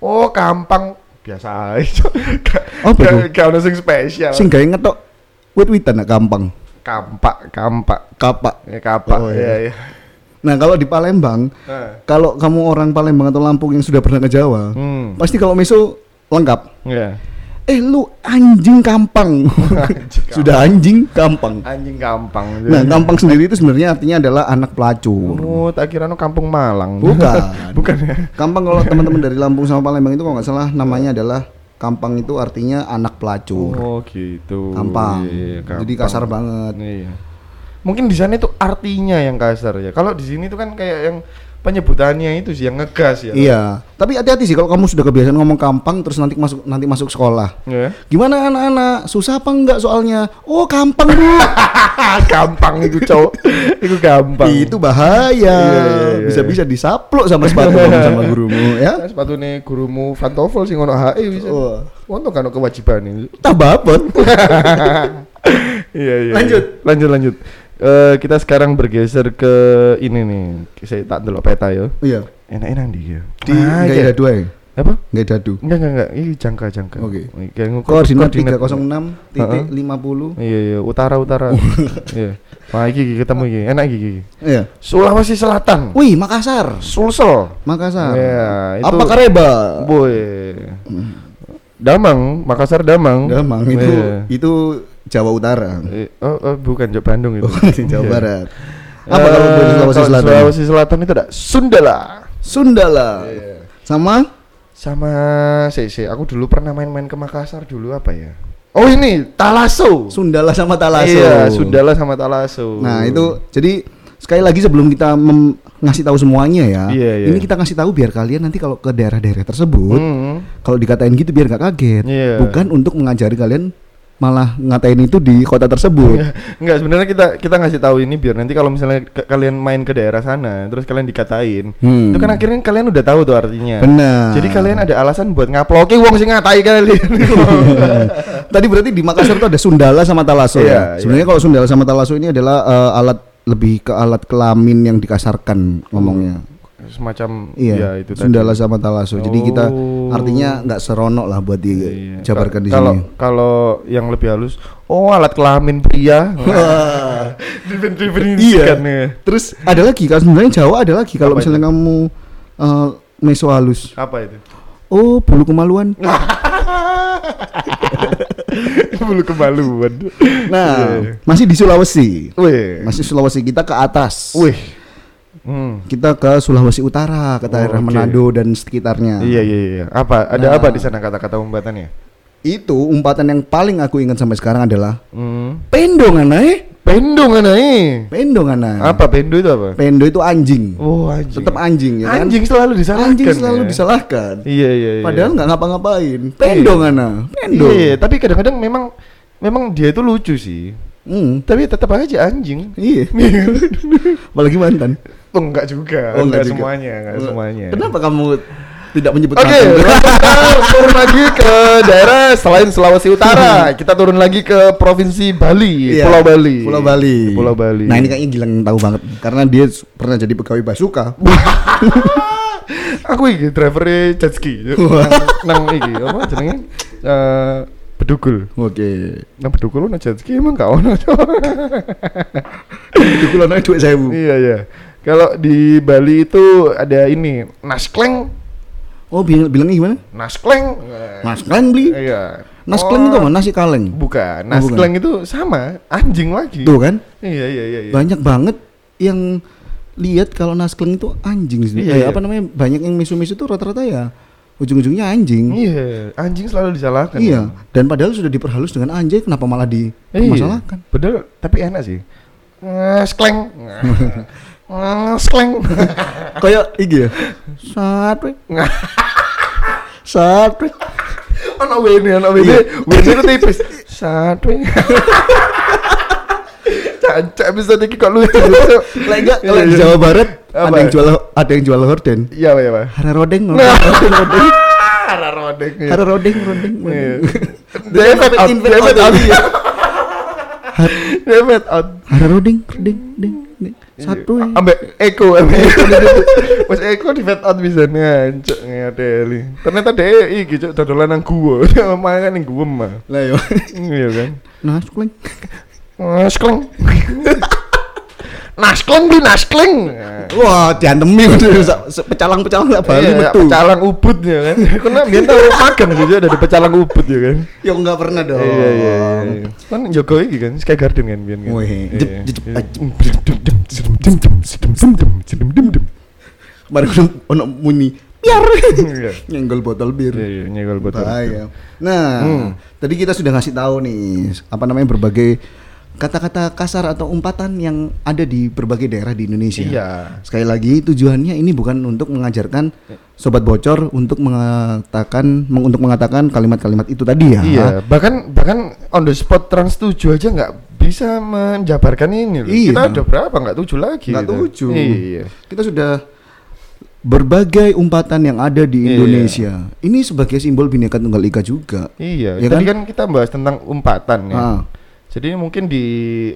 Speaker 4: oh kampang biasa aja. Gak-
Speaker 3: Apa
Speaker 4: gak-
Speaker 3: itu?
Speaker 4: Gak ono sing spesial.
Speaker 3: Sing gawe ngetok wit-witan nak kampang.
Speaker 4: Kampak, kampak.
Speaker 3: Kapak.
Speaker 4: Ya kapak.
Speaker 3: Oh,
Speaker 4: iya
Speaker 3: iya.
Speaker 4: iya.
Speaker 3: Nah, kalau di Palembang,
Speaker 4: Nah.
Speaker 3: kalau kamu orang Palembang atau Lampung yang sudah pernah ke Jawa,
Speaker 4: Hmm.
Speaker 3: pasti kalau meso lengkap.
Speaker 4: Iya.
Speaker 3: Eh lu anjing kampang. sudah anjing kampang.
Speaker 4: Anjing kampang.
Speaker 3: Nah, kampang sendiri itu sebenarnya artinya adalah anak pelacur.
Speaker 4: Iya. Oh, tak kira no kampung Malang.
Speaker 3: Bukan.
Speaker 4: Bukan ya.
Speaker 3: Kampang kalau teman-teman dari Lampung sama Palembang itu kalau nggak salah namanya adalah kampang itu artinya anak pelacur.
Speaker 4: Oh gitu.
Speaker 3: Kampang.
Speaker 4: Iya, iya,
Speaker 3: Jadi
Speaker 4: gampang.
Speaker 3: kasar banget.
Speaker 4: Iya. Mungkin di sana itu artinya yang kasar ya. Kalau di sini itu kan kayak yang penyebutannya itu sih yang ngegas ya.
Speaker 3: Iya. Tapi hati-hati sih kalau kamu sudah kebiasaan ngomong kampang terus nanti masuk nanti masuk sekolah.
Speaker 4: Ya.
Speaker 3: Gimana anak-anak? Susah apa enggak soalnya? Oh, kampang Bu.
Speaker 4: Ah, gampang itu cowok. itu gampang.
Speaker 3: Itu bahaya.
Speaker 4: Iya, iya, iya.
Speaker 3: Bisa-bisa disaplok sama sepatu kamu sama gurumu
Speaker 4: Nah,
Speaker 3: ya.
Speaker 4: sepatu nih gurumu Van Toffel sih ngono eh, HE bisa.
Speaker 3: Oh.
Speaker 4: Untuk kan kewajiban ini.
Speaker 3: Tambah abot.
Speaker 4: Iya iya.
Speaker 3: Lanjut.
Speaker 4: iya. Lanjut lanjut. Eh kita sekarang bergeser ke ini nih. Saya tak delok peta ya.
Speaker 3: Iya.
Speaker 4: Enak-enak di ya.
Speaker 3: Di enggak ada dua ya?
Speaker 4: Apa?
Speaker 3: Enggak ada dua.
Speaker 4: Enggak enggak enggak. Ini jangka jangka.
Speaker 3: Oke.
Speaker 4: Kayak ngukur-
Speaker 3: Koordinat
Speaker 4: koordinat. gitu.
Speaker 3: 306 titik 50.
Speaker 4: Iya iya utara utara. Iya. Wah iki ketemu iki. Enak iki. iki.
Speaker 3: Iya.
Speaker 4: Sulawesi Selatan.
Speaker 3: Wih, Makassar.
Speaker 4: Sulsel.
Speaker 3: Makassar.
Speaker 4: Iya, itu-
Speaker 3: Apa Kareba?
Speaker 4: Boy. Damang, Makassar Damang.
Speaker 3: Damang itu
Speaker 4: Iya.
Speaker 3: itu Jawa Utara.
Speaker 4: Eh, Oh, oh, bukan Jawa Bandung itu.
Speaker 3: Di Jawa
Speaker 4: Iya.
Speaker 3: Barat.
Speaker 4: Eh,
Speaker 3: Apa kalau dari Sulawesi
Speaker 4: kalau
Speaker 3: Selatan?
Speaker 4: Sulawesi Iya. Selatan itu ada Sundala.
Speaker 3: Sundala. Sama
Speaker 4: Sama si si aku dulu pernah main-main ke Makassar dulu apa ya? Oh ini Talaso.
Speaker 3: Sundala Iya, sama Talaso.
Speaker 4: Iya, Sundala sama Talaso.
Speaker 3: Nah, itu jadi sekali lagi sebelum kita mem- ngasih tahu semuanya ya.
Speaker 4: Iya, iya.
Speaker 3: Ini kita ngasih tahu biar kalian nanti kalau ke daerah-daerah tersebut
Speaker 4: Hmm.
Speaker 3: kalau dikatain gitu biar nggak kaget.
Speaker 4: Iya.
Speaker 3: Bukan untuk mengajari kalian malah ngatain itu di kota tersebut.
Speaker 4: Enggak sebenarnya kita kita ngasih tahu ini biar nanti kalau misalnya ke- kalian main ke daerah sana terus kalian dikatain
Speaker 3: Hmm.
Speaker 4: itu kan akhirnya kalian udah tahu tuh artinya.
Speaker 3: Benar.
Speaker 4: Jadi kalian ada alasan buat ngaploki wong sing ngatai kalian.
Speaker 3: Tadi berarti di Makassar itu ada Sundala sama Talaso ya.
Speaker 4: Iya,
Speaker 3: Sebenarnya kalau Sundala sama Talaso ini adalah eh, alat lebih ke alat kelamin yang dikasarkan ngomongnya.
Speaker 4: Semacam
Speaker 3: Iya,
Speaker 4: ya Hmm. itu tadi.
Speaker 3: Sundala sama Talaso. Jadi kita
Speaker 4: Oh. Iya,
Speaker 3: artinya nggak seronok lah buat dijabarkan di
Speaker 4: Kalau
Speaker 3: sini.
Speaker 4: kalau yang lebih halus, oh alat kelamin pria.
Speaker 3: Iya.
Speaker 4: Definisikan nih.
Speaker 3: Terus ada lagi kalau sebenarnya Jawa ada lagi kalau
Speaker 4: Apa itu?
Speaker 3: misalnya kamu eh, meso halus.
Speaker 4: Apa itu?
Speaker 3: Oh, bulu kemaluan.
Speaker 4: Nah. Bulu kebaluan.
Speaker 3: Nah,
Speaker 4: Iya.
Speaker 3: masih di Sulawesi.
Speaker 4: Wih.
Speaker 3: Masih Sulawesi kita ke atas.
Speaker 4: Wih. Hmm.
Speaker 3: Kita ke Sulawesi Utara, ke
Speaker 4: Oh,
Speaker 3: daerah
Speaker 4: oke.
Speaker 3: Manado dan sekitarnya.
Speaker 4: Iya iya iya. Apa ada
Speaker 3: Nah.
Speaker 4: apa di sana kata-kata umbatannya?
Speaker 3: Itu umpatan yang paling aku ingat sampai sekarang adalah
Speaker 4: Hmm.
Speaker 3: pendo nganae,
Speaker 4: Pendo nganai.
Speaker 3: pendo nganae.
Speaker 4: kan, eh? Apa pendo itu apa?
Speaker 3: Pendo itu Nah. anjing.
Speaker 4: Oh anjing.
Speaker 3: Tetap anjing ya kan?
Speaker 4: Anjing selalu disalahkan.
Speaker 3: Anjing selalu
Speaker 4: ya?
Speaker 3: disalahkan.
Speaker 4: Iya iya iya.
Speaker 3: Padahal nggak ngapa-ngapain. Pendo
Speaker 4: Iya.
Speaker 3: ngana, pendo.
Speaker 4: Iya, iya, tapi kadang-kadang memang memang dia itu lucu sih.
Speaker 3: Hmm.
Speaker 4: Tapi tetap aja anjing.
Speaker 3: Iya. Apalagi mantan.
Speaker 4: Oh, enggak juga.
Speaker 3: Oh,
Speaker 4: enggak,
Speaker 3: nggak juga.
Speaker 4: semuanya, enggak
Speaker 3: Oh,
Speaker 4: semuanya.
Speaker 3: Kenapa kamu tidak menyebut
Speaker 4: Oke,
Speaker 3: mantan?
Speaker 4: turun lagi ke daerah selain Sulawesi Utara. Kita turun lagi ke provinsi Bali,
Speaker 3: Hmm. Iya,
Speaker 4: Pulau Bali.
Speaker 3: Pulau Bali.
Speaker 4: Pulau Bali.
Speaker 3: Nah, ini kayaknya Gilang tahu banget karena dia s- pernah jadi pegawai basuka.
Speaker 4: aku iki drivernya jet ski.
Speaker 3: Wah.
Speaker 4: nang, nang iki apa jenenge? Eh, bedugul.
Speaker 3: Oke.
Speaker 4: Nang bedugul nang jet ski emang gak ono.
Speaker 3: Itu kula naik duit saya, Bu.
Speaker 4: iya, iya. Kalau di Bali itu ada ini, naskleng,
Speaker 3: Oh, bil- bilangnya gimana?
Speaker 4: naskleng.
Speaker 3: Mas kaleng beli.
Speaker 4: Iya.
Speaker 3: Nas kaleng itu apa? Nasi kaleng.
Speaker 4: Bukan,
Speaker 3: Oh, bukan.
Speaker 4: naskleng itu sama, anjing lagi.
Speaker 3: Tuh kan?
Speaker 4: Iya, iya, iya, iya.
Speaker 3: Banyak banget yang lihat kalau naskleng itu anjing sih.
Speaker 4: Iya,
Speaker 3: Eh,
Speaker 4: iya.
Speaker 3: apa namanya? Banyak yang misu-misu itu rata-rata ya ujung-ujungnya anjing.
Speaker 4: Iya, anjing selalu disalahkan.
Speaker 3: Iya, dan padahal sudah diperhalus dengan anjing, kenapa malah
Speaker 4: Eh, iya.
Speaker 3: dipermasalahkan?
Speaker 4: Padahal tapi enak sih. Ngeskleng. Ngeskleng.
Speaker 3: Kayak iki ya. Satu. Satu.
Speaker 4: Ono wene, ono wene.
Speaker 3: Iya.
Speaker 4: Wene itu tipis. Satu. Cancak bisa iki kok lucu.
Speaker 3: Lek enggak
Speaker 4: Iya,
Speaker 3: kalau di
Speaker 4: iya.
Speaker 3: Jawa Barat ada
Speaker 4: Apa?
Speaker 3: yang jual ada yang jual horden.
Speaker 4: Iya, iya, Pak.
Speaker 3: Hara rodeng,
Speaker 4: Nah.
Speaker 3: rodeng, rodeng.
Speaker 4: Arah rodek. iya.
Speaker 3: Hara rodeng, rodeng.
Speaker 4: Iya.
Speaker 3: rodeng.
Speaker 4: Devet out,
Speaker 3: Invent
Speaker 4: devet
Speaker 3: out.
Speaker 4: out. Devet out.
Speaker 3: Hara rodeng, rodeng, rodeng. rodeng. Satu.
Speaker 4: Iya. Ah, Ambek Eko, ambek Eko. Mas Eko di fat out bisa ngancok ngedeli. Ternyata deh iki cok dodolan nang gua. Makan nang gua mah.
Speaker 3: Lah yo.
Speaker 4: Iya kan.
Speaker 3: Naskleng.
Speaker 4: Naskleng. Naskleng di naskleng.
Speaker 3: Iya. Wah, diantemi udah se- se- pecalang-pecalang sak Bali
Speaker 4: Iya,
Speaker 3: metu.
Speaker 4: pecalang ubud ya kan. Kena biar tau magang gitu ada di pecalang ubud ya kan.
Speaker 3: Ya enggak pernah dong.
Speaker 4: Iya iya iya. Kan Joko iki kan Sky Garden kan biyen kan.
Speaker 3: Wih.
Speaker 4: Iya.
Speaker 3: Jep, jep,
Speaker 4: Iya.
Speaker 3: jep, Kemarin kan ono muni biar
Speaker 4: Iya.
Speaker 3: nyenggol botol bir.
Speaker 4: Iya, iya, nyenggol botol.
Speaker 3: Bahaya. Nah,
Speaker 4: Hmm.
Speaker 3: tadi kita sudah ngasih tahu nih apa namanya berbagai kata-kata kasar atau umpatan yang ada di berbagai daerah di Indonesia.
Speaker 4: Iya.
Speaker 3: Sekali lagi tujuannya ini bukan untuk mengajarkan sobat bocor untuk mengatakan meng- untuk mengatakan kalimat-kalimat itu tadi ya.
Speaker 4: Iya, bahkan bahkan on the spot trans 7 aja nggak bisa menjabarkan ini loh.
Speaker 3: Iya.
Speaker 4: Kita ada berapa nggak tujuh lagi?
Speaker 3: Nggak
Speaker 4: gitu.
Speaker 3: lucu.
Speaker 4: Iya.
Speaker 3: Kita sudah berbagai umpatan yang ada di
Speaker 4: Iya.
Speaker 3: Indonesia. Ini sebagai simbol bineka tunggal ika juga.
Speaker 4: Iya.
Speaker 3: Ya
Speaker 4: Tadi
Speaker 3: kan?
Speaker 4: kan? kita bahas tentang umpatan ya.
Speaker 3: Ah.
Speaker 4: Jadi mungkin di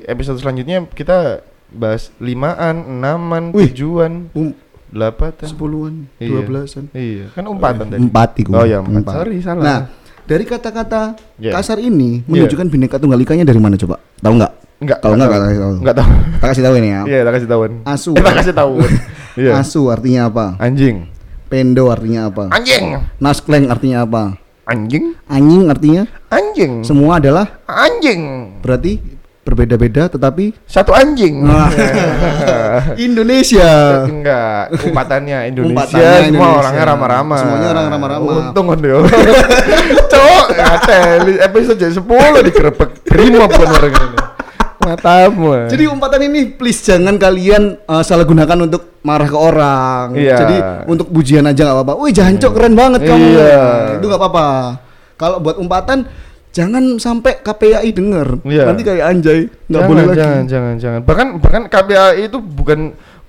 Speaker 4: episode selanjutnya kita bahas limaan, enaman,
Speaker 3: Wih.
Speaker 4: tujuan,
Speaker 3: Um,
Speaker 4: delapan,
Speaker 3: sepuluhan,
Speaker 4: Iya.
Speaker 3: dua belasan.
Speaker 4: Iya, kan umpatan tadi.
Speaker 3: Empat iku.
Speaker 4: Oh ya, empat. Sorry, salah. Iya.
Speaker 3: Nah, dari kata-kata
Speaker 4: Yeah.
Speaker 3: kasar ini
Speaker 4: Yeah.
Speaker 3: menunjukkan bineka tunggal ikanya dari mana coba? Tahu nggak?
Speaker 4: Enggak,
Speaker 3: Kalau nggak
Speaker 4: tahu.
Speaker 3: kasih tahu.
Speaker 4: Enggak tahu.
Speaker 3: Tak kasih tahu ini ya.
Speaker 4: Iya, tak kasih tahuan.
Speaker 3: Asu.
Speaker 4: Eh, tak kasih tahuan. Iya.
Speaker 3: Asu artinya apa?
Speaker 4: Anjing.
Speaker 3: Pendo artinya apa?
Speaker 4: Anjing.
Speaker 3: Naskleng artinya apa?
Speaker 4: Anjing.
Speaker 3: Anjing artinya
Speaker 4: Anjing.
Speaker 3: semua adalah
Speaker 4: Anjing.
Speaker 3: berarti berbeda-beda tetapi
Speaker 4: Satu anjing.
Speaker 3: Nah. Indonesia.
Speaker 4: Iya. Enggak, umpatannya Indonesia.
Speaker 3: Umpatannya
Speaker 4: semua
Speaker 3: Indonesia.
Speaker 4: orangnya rama-rama.
Speaker 3: Semuanya orang rama-rama.
Speaker 4: Untung kan dia. Cok, ngateli episode jadi 10 digerebek. Brimob bener ini. matamu ah.
Speaker 3: Jadi umpatan ini please jangan kalian eh, salah gunakan untuk marah ke orang.
Speaker 4: Iya.
Speaker 3: Jadi untuk pujian aja nggak apa-apa. Wih jancok keren banget kamu.
Speaker 4: Iya.
Speaker 3: Nah, Itu nggak apa-apa. Kalau buat umpatan jangan sampai KPI denger.
Speaker 4: Iya.
Speaker 3: Nanti kayak anjay nggak
Speaker 4: jangan,
Speaker 3: boleh lagi.
Speaker 4: jangan jangan jangan bahkan bahkan KPAI itu bukan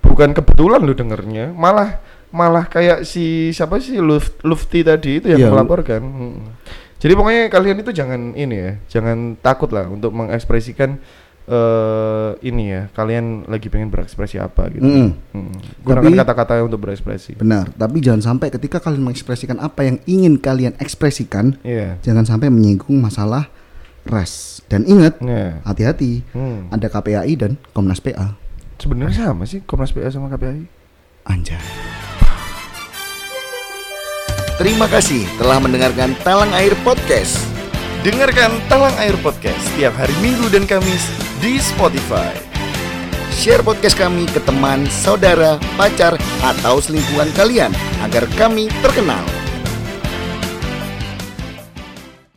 Speaker 4: bukan kebetulan lu dengernya malah malah kayak si siapa sih Luf, Lufti tadi itu yang
Speaker 3: Iya, Lu-
Speaker 4: melaporkan Hmm. jadi pokoknya kalian itu jangan ini ya jangan takut lah untuk mengekspresikan eh ini ya kalian lagi pengen berekspresi apa gitu
Speaker 3: Mm-mm.
Speaker 4: Hmm.
Speaker 3: Tapi-
Speaker 4: gunakan kata-kata untuk berekspresi
Speaker 3: Benar. Tapi jangan sampai ketika kalian mengekspresikan apa yang ingin kalian ekspresikan,
Speaker 4: iya
Speaker 3: jangan sampai menyinggung masalah ras. Dan ingat
Speaker 4: Iya.
Speaker 3: hati-hati.
Speaker 4: Hmm.
Speaker 3: Ada KPAI dan Komnas PA.
Speaker 4: sebenarnya sama sih Komnas PA sama KPAI
Speaker 3: Anjay. Terima kasih telah mendengarkan Talang Air Podcast.
Speaker 5: Dengarkan Talang Air Podcast setiap hari Minggu dan Kamis di Spotify.
Speaker 3: Share podcast kami ke teman, saudara, pacar, atau selingkuhan kalian agar kami terkenal.